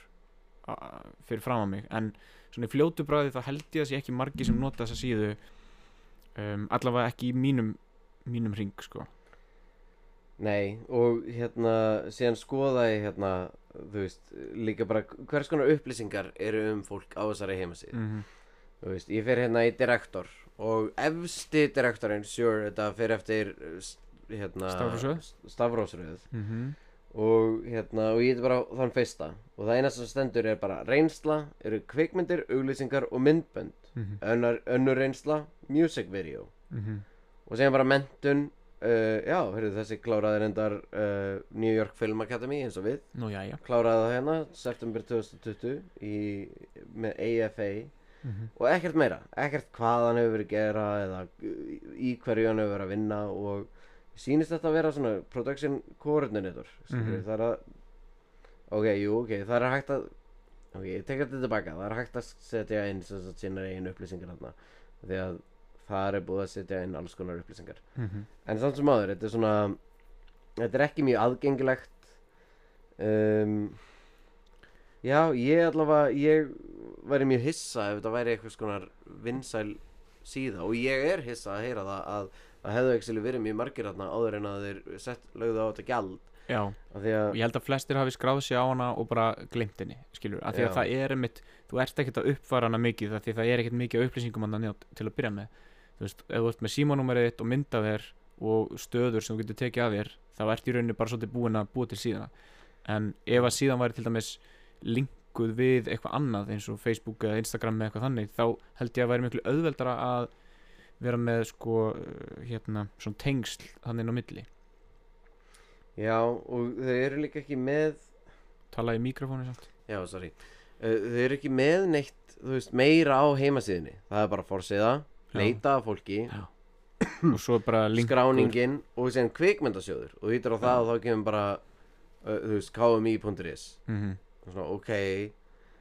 Speaker 1: a- fyrir fram að mig en svona í fljótu bræði þá held ég að sé ekki margir sem nota þessa síðu um, allavega ekki í mínum mínum ring sko
Speaker 3: Nei, og hérna, síðan skoða ég hérna, þú veist, líka bara hvers konar upplýsingar eru um fólk á þessari heimasíð.
Speaker 1: mm
Speaker 3: Þú veist, ég fer hérna í direktor og efsti direktorinn, sure, þetta fer eftir, uh, s- hérna,
Speaker 1: Stafrófsröð?
Speaker 3: s- Stafrófsröð
Speaker 1: -hmm.
Speaker 3: og hérna, og ég er bara á þann fyrsta og það eina sem stendur er bara reynsla, eru kvikmyndir, auglýsingar og myndbönd,
Speaker 1: Mhm.
Speaker 3: önnar, önnur reynsla, music video
Speaker 1: Mm -hmm.
Speaker 3: og segja bara mentun uh, já, heyrðu þessi kláraði reyndar uh, New York Film Academy eins og við
Speaker 1: nú já já
Speaker 3: kláraði það hérna september 2020 í, með AFA
Speaker 1: Mhm.
Speaker 3: og ekkert meira, ekkert hvað hann hefur verið að gera eða í, í hverju hann hefur verið að vinna og sýnist þetta að vera svona production coordinator mm
Speaker 1: Mhm.
Speaker 3: það er að ok, jú, ok, það er hægt að ok, ég tek þetta tilbaka, það er hægt að setja inn sem sagt sínar eigin upplýsingar þarna því að það er búið að setja inn alls konar upplýsingar
Speaker 1: mm -hmm.
Speaker 3: en samt sem áður, þetta er svona þetta er ekki mjög aðgengilegt um, já, ég allavega ég væri mjög hissa ef þetta væri eitthvað skonar vinsæl síða og ég er hissa að heyra það að það hefðu ekki verið mjög margir þarna áður en að þeir sett lögðu á þetta gjald
Speaker 1: já
Speaker 3: af því að
Speaker 1: og ég held að flestir hafi skráð sig á hana og bara glemt henni skilur af því að
Speaker 3: Já.
Speaker 1: það er einmitt þú ert ekkert að uppfara hana mikið af því það er ekkert mikið af upplýsingum hann til að byrja með þú veist, ef þú ert með símanúmerið þitt og mynda þér og stöður sem þú getur tekið af þér þá ert í rauninni bara svolítið búin að búa til síðana en ef að síðan væri til dæmis linkuð við eitthvað annað eins og Facebook eða Instagram eða eitthvað þannig þá held ég að væri miklu auðveldara að vera með sko uh, hérna, svona tengsl hann inn á milli
Speaker 3: já, og þau eru líka ekki með
Speaker 1: tala í mikrofónu samt
Speaker 3: já, sorry uh, þau eru ekki með neitt, þú veist, meira á heimasíðinni það er bara fórsiða,
Speaker 1: Já.
Speaker 3: leita að fólki
Speaker 1: og svo bara linkur
Speaker 3: skráningin og sem kvikmyndasjóður og þú ítir á það og þá kemur bara uh, þú veist, kmi.is
Speaker 1: mm
Speaker 3: og svona, ok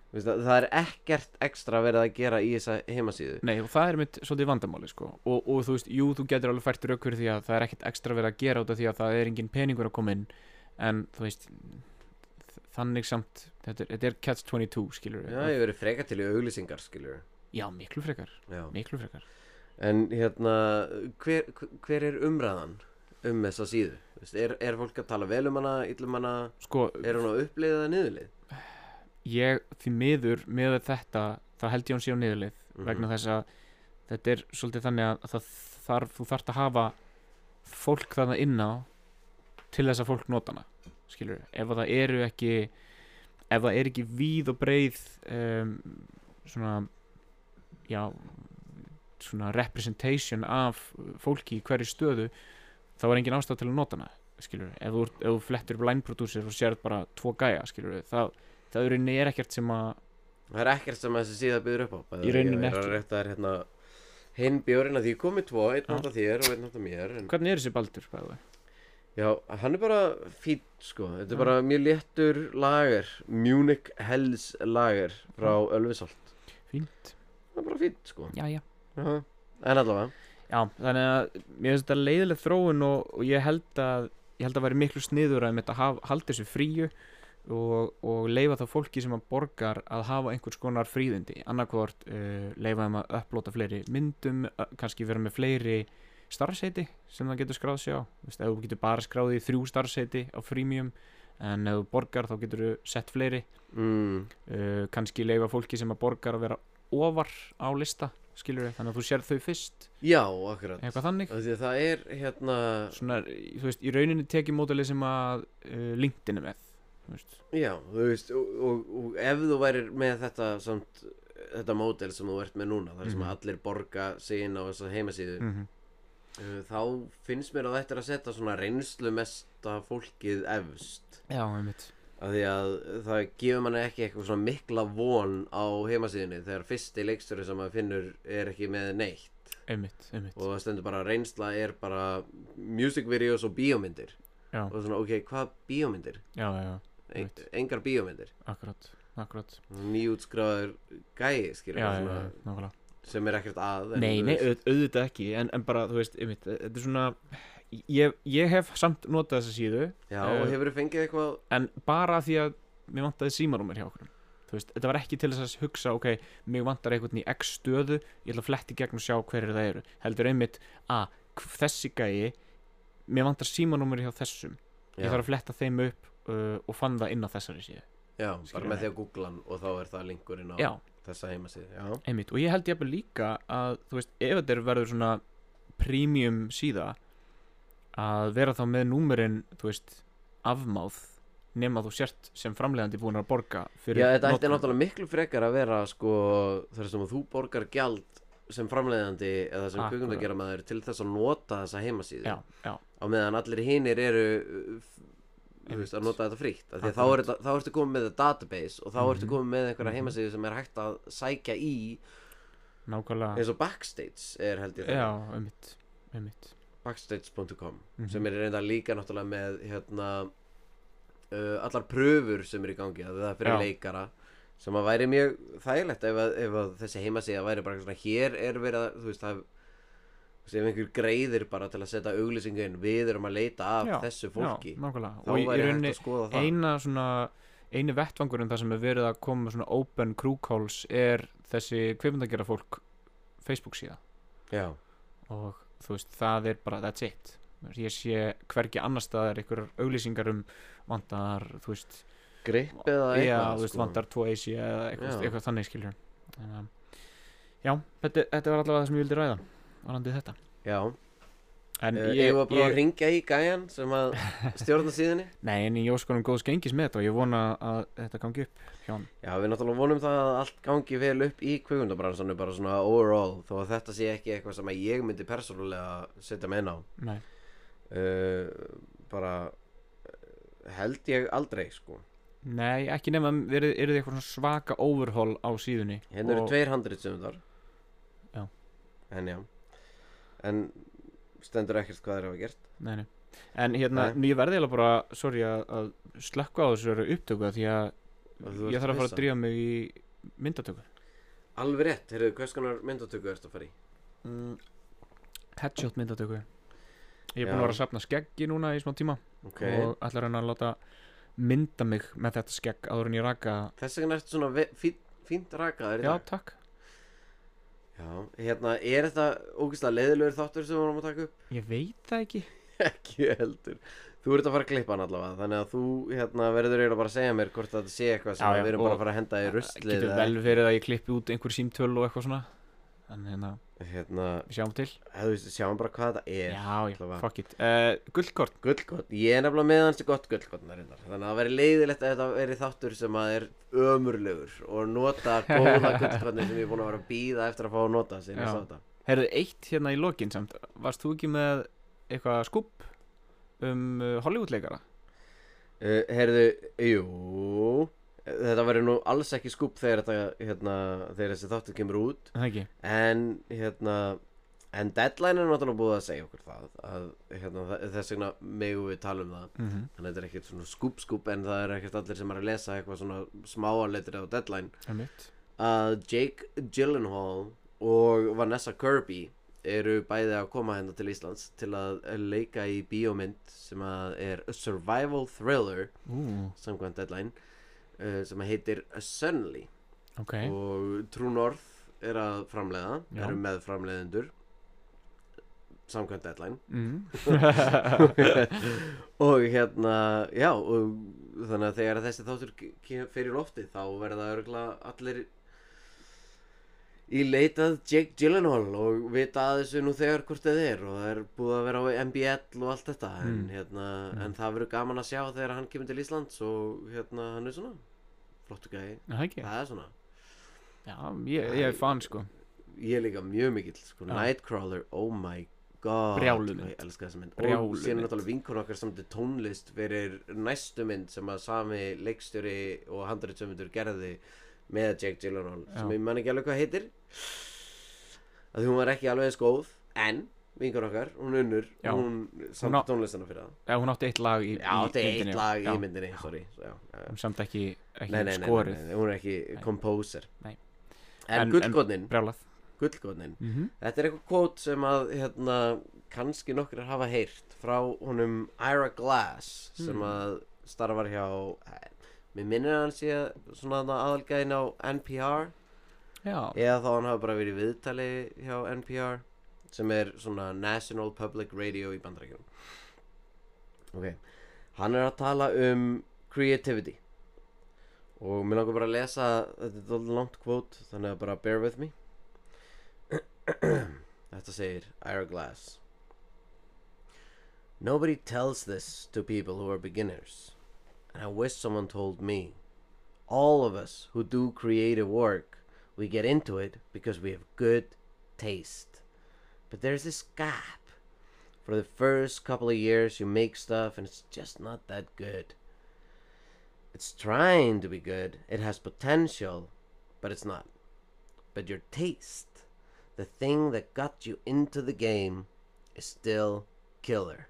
Speaker 3: Þú veist, það, það er ekkert ekstra verið að gera í þessa heimasíðu
Speaker 1: Nei og það er mitt svolítið vandamáli sko og, og þú veist, jú þú getur alveg fært rauk fyrir því að það er ekkert ekstra verið að gera út af því að það er engin peningur að koma inn en þú veist þ- þannig samt, þetta er, þetta er catch 22 skilur
Speaker 3: já, ég verið freka til í auglýsingar, skiljur
Speaker 1: já, miklu frekar,
Speaker 3: já.
Speaker 1: miklu frekar
Speaker 3: en hérna, hver, hver er umræðan um þessa síðu Þú veist, er, er fólk að tala vel um hana, illum hana
Speaker 1: sko,
Speaker 3: er hún á upplið eða niðurlið
Speaker 1: ég því miður með þetta þá held ég hún sé á niðurlið Mm.
Speaker 3: Mhm.
Speaker 1: vegna þess að þetta er svolítið þannig að það þarf, þú þarft að hafa fólk þarna inn á til þess að fólk nota hana skilur, ef að það eru ekki ef það er ekki ehm, víð og breið um, svona já svona representation af fólki í hverju stöðu þá er engin ástæð til að nota hana skilur ef þú, ert- ef þú flettir upp line producer og sérð bara tvo gæja skilur það, það í rauninni er ekkert sem að
Speaker 3: Það er ekkert sem þessi síða byrður upp á by
Speaker 1: Í
Speaker 3: the way.
Speaker 1: rauninni
Speaker 3: Ég er
Speaker 1: ekki.
Speaker 3: að rétta þér hérna Hinn bjórinn að því komið tvo, einn
Speaker 1: Já.
Speaker 3: handa þér og einn handa mér en,
Speaker 1: hvernig er þessi baldur bæði?
Speaker 3: Já, hann er bara fýtt sko Þetta er bara mjög léttur lager Munich Hells lager frá Ölfisolt
Speaker 1: fínt
Speaker 3: Það er bara fýtt sko
Speaker 1: já já
Speaker 3: Já. En allavega
Speaker 1: Já, þannig að mér finnst þetta leiðileg þróun og, og ég held að ég held að væri miklu sniður að þetta haldi þessu fríu og, og leifa þá fólki sem að borgar að hafa einhvers konar fríðindi annarkvort uh, leifa þeim að upplota fleiri myndum, uh, kannski vera með fleiri starfseiti sem það getur skráð sér á Þú veist, ef þú getur bara skráðið í þrjú starfseiti á frímjum en ef þú borgar þá getur þú sett fleiri
Speaker 3: mm,
Speaker 1: uh, kannski leifa fólki sem að borgar að vera ofar á lista skilur þannig að þú sér þau fyrst
Speaker 3: Já, akkurat
Speaker 1: eitthvað þannig
Speaker 3: Af Því að það er hérna
Speaker 1: svona, þú veist, í rauninni tekið mótalið sem að uh, LinkedIn er með þú veist.
Speaker 3: Já, þú veist og, og, og ef þú værir með þetta samt þetta mótel sem þú ert með núna þar sem
Speaker 1: Mhm.
Speaker 3: allir borga sig inn á þessa heimasíðu
Speaker 1: Mm
Speaker 3: Uh, Þá finnst mér að þetta er að setja svona reynslu mesta fólkið efst
Speaker 1: Já, einmitt
Speaker 3: af því að það gefur manni ekki eitthvað svona mikla von á heimasíðinni þegar fyrsti leikstöri sem maður finnur er ekki með neitt
Speaker 1: Einmitt, einmitt
Speaker 3: og það stendur bara að reynsla er bara music videos og bíómyndir
Speaker 1: Já.
Speaker 3: og svona ok, hvað bíómyndir?
Speaker 1: Já, já, já,
Speaker 3: Ein,
Speaker 1: Einmitt.
Speaker 3: engar bíómyndir
Speaker 1: akkurat, akkurat
Speaker 3: nýjútskráður gæi skýrur
Speaker 1: Já, já,
Speaker 3: svona,
Speaker 1: já, nákvæmlega
Speaker 3: sem er ekkert að en
Speaker 1: Nei,
Speaker 3: þú
Speaker 1: nei,
Speaker 3: veist-
Speaker 1: auð, auðvitað ekki en, en bara, þú veist, einmitt, e- þetta er svona ég, ég hef samt notað þessa síðu
Speaker 3: Já, og
Speaker 1: eh,
Speaker 3: hefur þú fengið eitthvað
Speaker 1: en bara því að mér vantaði símarúmer hjá okkur þú veist, þetta var ekki til þess að hugsa ok, mig vantar einhvern í x stöðu ég ætla að fletti gegn og sjá hverju það eru heldur einmitt að hv- þessi gæi mér vantar símarúmer hjá þessum
Speaker 3: Já.
Speaker 1: ég þarf að fletta þeim upp uh, og fann það inn á þessari síðu
Speaker 3: Já, bara
Speaker 1: Skilurðu?
Speaker 3: með því að googla hann og þá er það linkurinn á
Speaker 1: já,
Speaker 3: þessa heimasíðu Já,
Speaker 1: einmitt, og ég held jafnvel líka að þú veist, ef þetta er verður svona premium síða að vera þá með númerinn þú veist, afmáð nema þú sért sem framlegandi búin að borga fyrir
Speaker 3: Já, þetta ætti
Speaker 1: notkun.
Speaker 3: náttúrulega miklu frekar að vera sko, þar sem þú borgar gjald sem framleiðandi eða sem
Speaker 1: Akkúrat.
Speaker 3: kvikmyndageramaður til þess að nota þessa heimasíðu
Speaker 1: já, já,
Speaker 3: á meðan allir hinir eru uh, þú veist,
Speaker 1: Einmitt.
Speaker 3: að nota þetta frítt af því að þá, er,
Speaker 1: Akkúrat.
Speaker 3: þetta- þá ertu komið með database og þá ertu
Speaker 1: Mhm.
Speaker 3: komið með einhverja
Speaker 1: Mhm.
Speaker 3: heimasíðu sem er hægt að sækja í
Speaker 1: nákvæmlega
Speaker 3: eins og Backstage er held ég
Speaker 1: Ah. já,
Speaker 3: það
Speaker 1: einmitt, einmitt
Speaker 3: Backstage.com
Speaker 1: Mhm.
Speaker 3: sem er reynda líka náttúrulega með hérna, uh, allar pröfur sem er í gangi að það er fyrir
Speaker 1: Já.
Speaker 3: leikara sem að væri mjög þægilegt ef, að, ef að þessi heimasíða væri bara svona hér er verið að þú veist það þú veist, ef einhver greiðir bara til að setja auglýsingu inn við erum að leita af
Speaker 1: Já,
Speaker 3: þessu fólki
Speaker 1: já, nákvæmlega
Speaker 3: þá
Speaker 1: og í
Speaker 3: væri
Speaker 1: rauninni
Speaker 3: hægt að skoða það
Speaker 1: eina svona eini vettvangurinn þar sem er verið að koma með svona open crew calls er þessi kveifundagjara fólk Facebook síða
Speaker 3: já,
Speaker 1: og þú veist, það er bara that's it Þú veist, ég sé hvergi annar staðar einhverjar auglýsingar um vantar, þú veist,
Speaker 3: grip eða eitthvað sko.
Speaker 1: já, þú veist vantar 2AC eða eitthvað,
Speaker 3: Já.
Speaker 1: eitthvað þannig skilur Þannig að- já, þetta, þetta var allavega það sem ég vildi ræða varandi þetta
Speaker 3: já,
Speaker 1: en
Speaker 3: ég,
Speaker 1: ég,
Speaker 3: ég var bara Eh, að ringja í gæjan sem að stjórna síðinni
Speaker 1: Nei, en ég óskonum góðs gengis með þetta og ég vona að þetta gangi upp hjá hann.
Speaker 3: Já, við náttúrulega vonum það að allt gangi vel upp í kvikmyndabransanum bara svona overall þó að þetta sé ekki eitthvað sem að ég myndi persónulega setja með inn á
Speaker 1: Nei,
Speaker 3: uh, bara eh, held ég aldrei sko
Speaker 1: Nei ekki nema verið, eru þið eitthvað svona svaka overhaul á síðunni.
Speaker 3: Hérna eru
Speaker 1: Og-
Speaker 3: tveir handrit sem þar
Speaker 1: Já.
Speaker 3: En já En stendur ekkert hvað þeir hafa gert
Speaker 1: Nei, nei. En hérna,
Speaker 3: Nei.
Speaker 1: nei. ég verði eiginlega bara, sorry, að, að slökka á þessu upptöku af því að
Speaker 3: Og þú
Speaker 1: ég
Speaker 3: ert
Speaker 1: þarf að fara
Speaker 3: pissa.
Speaker 1: að drífa mig í myndatöku.
Speaker 3: Alveg rétt, heyrðu, hvers konar myndatöku ertu að fara í?
Speaker 1: Mm. Headshot myndatöku. Ég er
Speaker 3: Já.
Speaker 1: búin að vera að safna skeggi núna í smá tíma
Speaker 3: Ok,
Speaker 1: og ætla að reyna að láta mynda mig með þetta skegg áður en ég raka.
Speaker 3: þess vegna ertu svona ve- fín- fínt rakaður í
Speaker 1: Já,
Speaker 3: dag
Speaker 1: takk.
Speaker 3: Já, hérna, er þetta ógeðslega leiðilegur þáttur sem við vorum að taka upp?
Speaker 1: Ég veit það ekki.
Speaker 3: ekki heldur þú ert að fara að klippa hann allavega þannig að þú hérna, verður eiginlega bara að segja mér hvort þetta sé eitthvað sem
Speaker 1: Já, já,
Speaker 3: við erum bara
Speaker 1: og-
Speaker 3: að fara að henda í
Speaker 1: Það
Speaker 3: ruslið
Speaker 1: getur
Speaker 3: eða-
Speaker 1: vel verið að ég klippi út einhver símtöl og eitthvað svona en hérna,
Speaker 3: hérna,
Speaker 1: við sjáum til
Speaker 3: hefðu veist, sjáum bara hvað þetta er
Speaker 1: Já, já,
Speaker 3: allavega.
Speaker 1: fuck it uh, Guldkort,
Speaker 3: gullkott, ég er nefnilega með hans gott gullkottnar hérna. þannig að það verður leiðilegt að þetta verður þáttur sem að er ömurlegur og nota góða gullkottnar sem ég er búin að vera að býða eftir að fá að nota sér
Speaker 1: Já.
Speaker 3: já.
Speaker 1: Herðu, eitt hérna í lokin samt Varst þú ekki með eitthvað skúp um uh, Hollywoodleikara?
Speaker 3: Uh, heyrðu, jú Þetta verður nú alls ekki skúp þegar þetta, hérna, þegar þessi þáttur kemur út
Speaker 1: Það ekki
Speaker 3: En, hérna, en deadline er náttúrulega búið að segja okkur það að, hérna, þa- Þess vegna megum við tala um það
Speaker 1: mm -hmm.
Speaker 3: Þannig að þetta er ekkert svona skúp skúp En það er ekkert allir sem er að lesa eitthvað svona smáarleitir á deadline að Jake Gyllenhaal og Vanessa Kirby eru bæði að koma hérna til Íslands til að leika í bíómynd sem að er a survival thriller
Speaker 1: Ú,
Speaker 3: samkvæmt deadline uh, sem að heitir Sunly
Speaker 1: ok
Speaker 3: og True North er að framleiða,
Speaker 1: Já.
Speaker 3: eru með framleiðendur samkvæmt deadline
Speaker 1: mm.
Speaker 3: og hérna, já og þannig að þegar þessi þáttur kemur fyrir loftið þá verða örgla allir í leitað Jake Gyllenhaal og vita að þessu nú þegar hvort þið er og það er búið að vera á MBL og allt þetta en,
Speaker 1: Mm.
Speaker 3: hérna,
Speaker 1: Mm.
Speaker 3: en það verður gaman að sjá þegar hann kemur til Íslands og hérna hann er svona flottu gæði,
Speaker 1: Það ekki
Speaker 3: það er svona
Speaker 1: Já, ég, ég er fan sko
Speaker 3: ég er líka mjög mikill sko,
Speaker 1: Já.
Speaker 3: Nightcrawler, oh my god
Speaker 1: Brjáluð mynd.
Speaker 3: ég elska þessa mynd
Speaker 1: Brjáluð
Speaker 3: og síðan
Speaker 1: mynd.
Speaker 3: náttúrulega vinkun okkar samt tónlist fyrir næstu mynd sem að sami leikstjóri og handritsömyndur gerði með Jack Gyllenhaal
Speaker 1: Já.
Speaker 3: sem ég man ekki alveg hvað heitir að því hún var ekki alveg eins góð en vinkun okkar, hún unnur
Speaker 1: Já.
Speaker 3: hún samt
Speaker 1: Hún á-
Speaker 3: tónlistina fyrir það
Speaker 1: Já, hún átti eitt lag í,
Speaker 3: já,
Speaker 1: í
Speaker 3: þetta er
Speaker 1: myndinni,
Speaker 3: eitt lag
Speaker 1: já.
Speaker 3: í myndinni sorry, já, já, já.
Speaker 1: Hún samt ekki, ekki
Speaker 3: Nei, nei, nei, nei,
Speaker 1: skorið
Speaker 3: nei, hún er ekki
Speaker 1: Nei.
Speaker 3: kompóser
Speaker 1: Nei. En- en-
Speaker 3: en gullgóðnin
Speaker 1: Brjálað
Speaker 3: gullgóðnin
Speaker 1: mm -hmm.
Speaker 3: Þetta er eitthvað kvót sem að hérna, kannski nokkur hafa heyrt frá honum Ira Glass sem
Speaker 1: Hmm.
Speaker 3: að starfar hjá mér minnir að hann sé svona þarna aðalgæðin á NPR
Speaker 1: Já,
Speaker 3: eða þá hann hafa bara verið í viðtali hjá NPR sem er svona National Public Radio í bandarækjum ok hann er að tala um creativity og mér langar bara að lesa þetta er dálítið langt kvót þannig að bara bear with me þetta segir Ira Glass Nobody tells this to people who are beginners and I wish someone told me all of us who do creative work we get into it because we have good taste. But there's this gap. For the first couple of years, you make stuff and it's just not that good. It's trying to be good, it has potential, but it's not. But your taste, the thing that got you into the game, is still killer.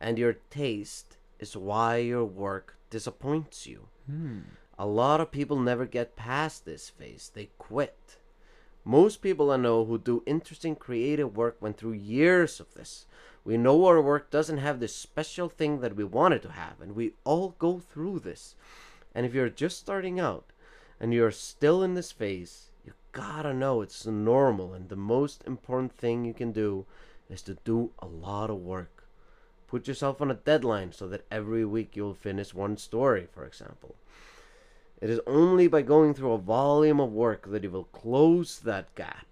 Speaker 3: And your taste is why your work disappoints you.
Speaker 1: hmm.
Speaker 3: A lot of people never get past this phase. They quit. Most people I know who do interesting creative work went through years of this. We know our work doesn't have this special thing that we wanted to have, and we all go through this. And if you're just starting out and you're still in this phase, you gotta know it's normal, and the most important thing you can do is to do a lot of work. Put yourself on a deadline so that every week you'll finish one story, for example. It is only by going through a volume of work that you will close that gap,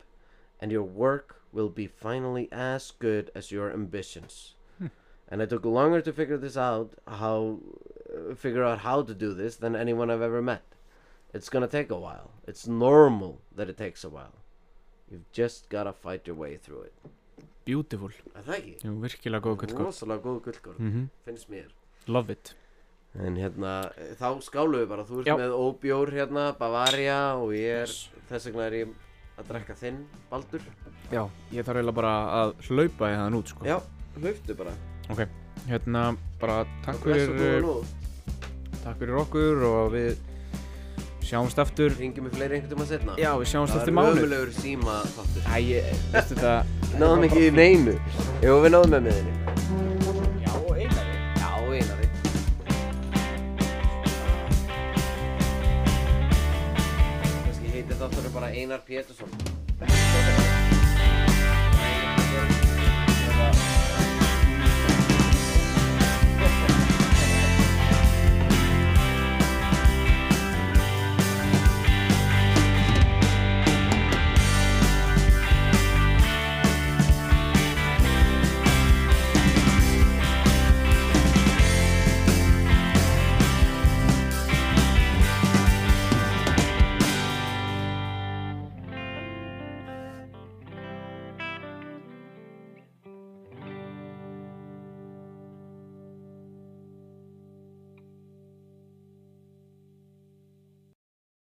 Speaker 3: and your work will be finally as good as your ambitions. and I took longer to figure this out, how uh, figure out how to do this than anyone I've ever met. It's gonna take a while. It's normal that it takes a while. You've just gotta fight your way through it.
Speaker 1: Beautiful
Speaker 3: Er það ekki?
Speaker 1: Jú, virkilega góð gullkort
Speaker 3: Rosalega góð gullkorn,
Speaker 1: mm
Speaker 3: finnst mér.
Speaker 1: Love it
Speaker 3: En hérna, þá skálum við bara, þú ert
Speaker 1: Já.
Speaker 3: með óbjór hérna, Bavaria og ég er, þess vegna er ég að drekka þinn, Baldur.
Speaker 1: Já, ég þarf eiginlega bara að hlaupa í þaðan út sko
Speaker 3: Já, hlauftu bara.
Speaker 1: Ok, hérna bara takk
Speaker 3: Bless og góða
Speaker 1: fyrir,
Speaker 3: nótt.
Speaker 1: takk fyrir okkur og við sjáumst aftur
Speaker 3: Ringjum við fleiri einhvern tíma setna.
Speaker 1: Já, við sjáumst aftur mánuð
Speaker 3: ömulegur síma þáttur.
Speaker 1: Æ, ég- veistu þetta
Speaker 3: Náðum ekki í neinu. Jú, við náðum með miðinni.
Speaker 1: Já, eiginlega
Speaker 3: Já, einari. Kannski heitir þáttur bara Einar Pétursson.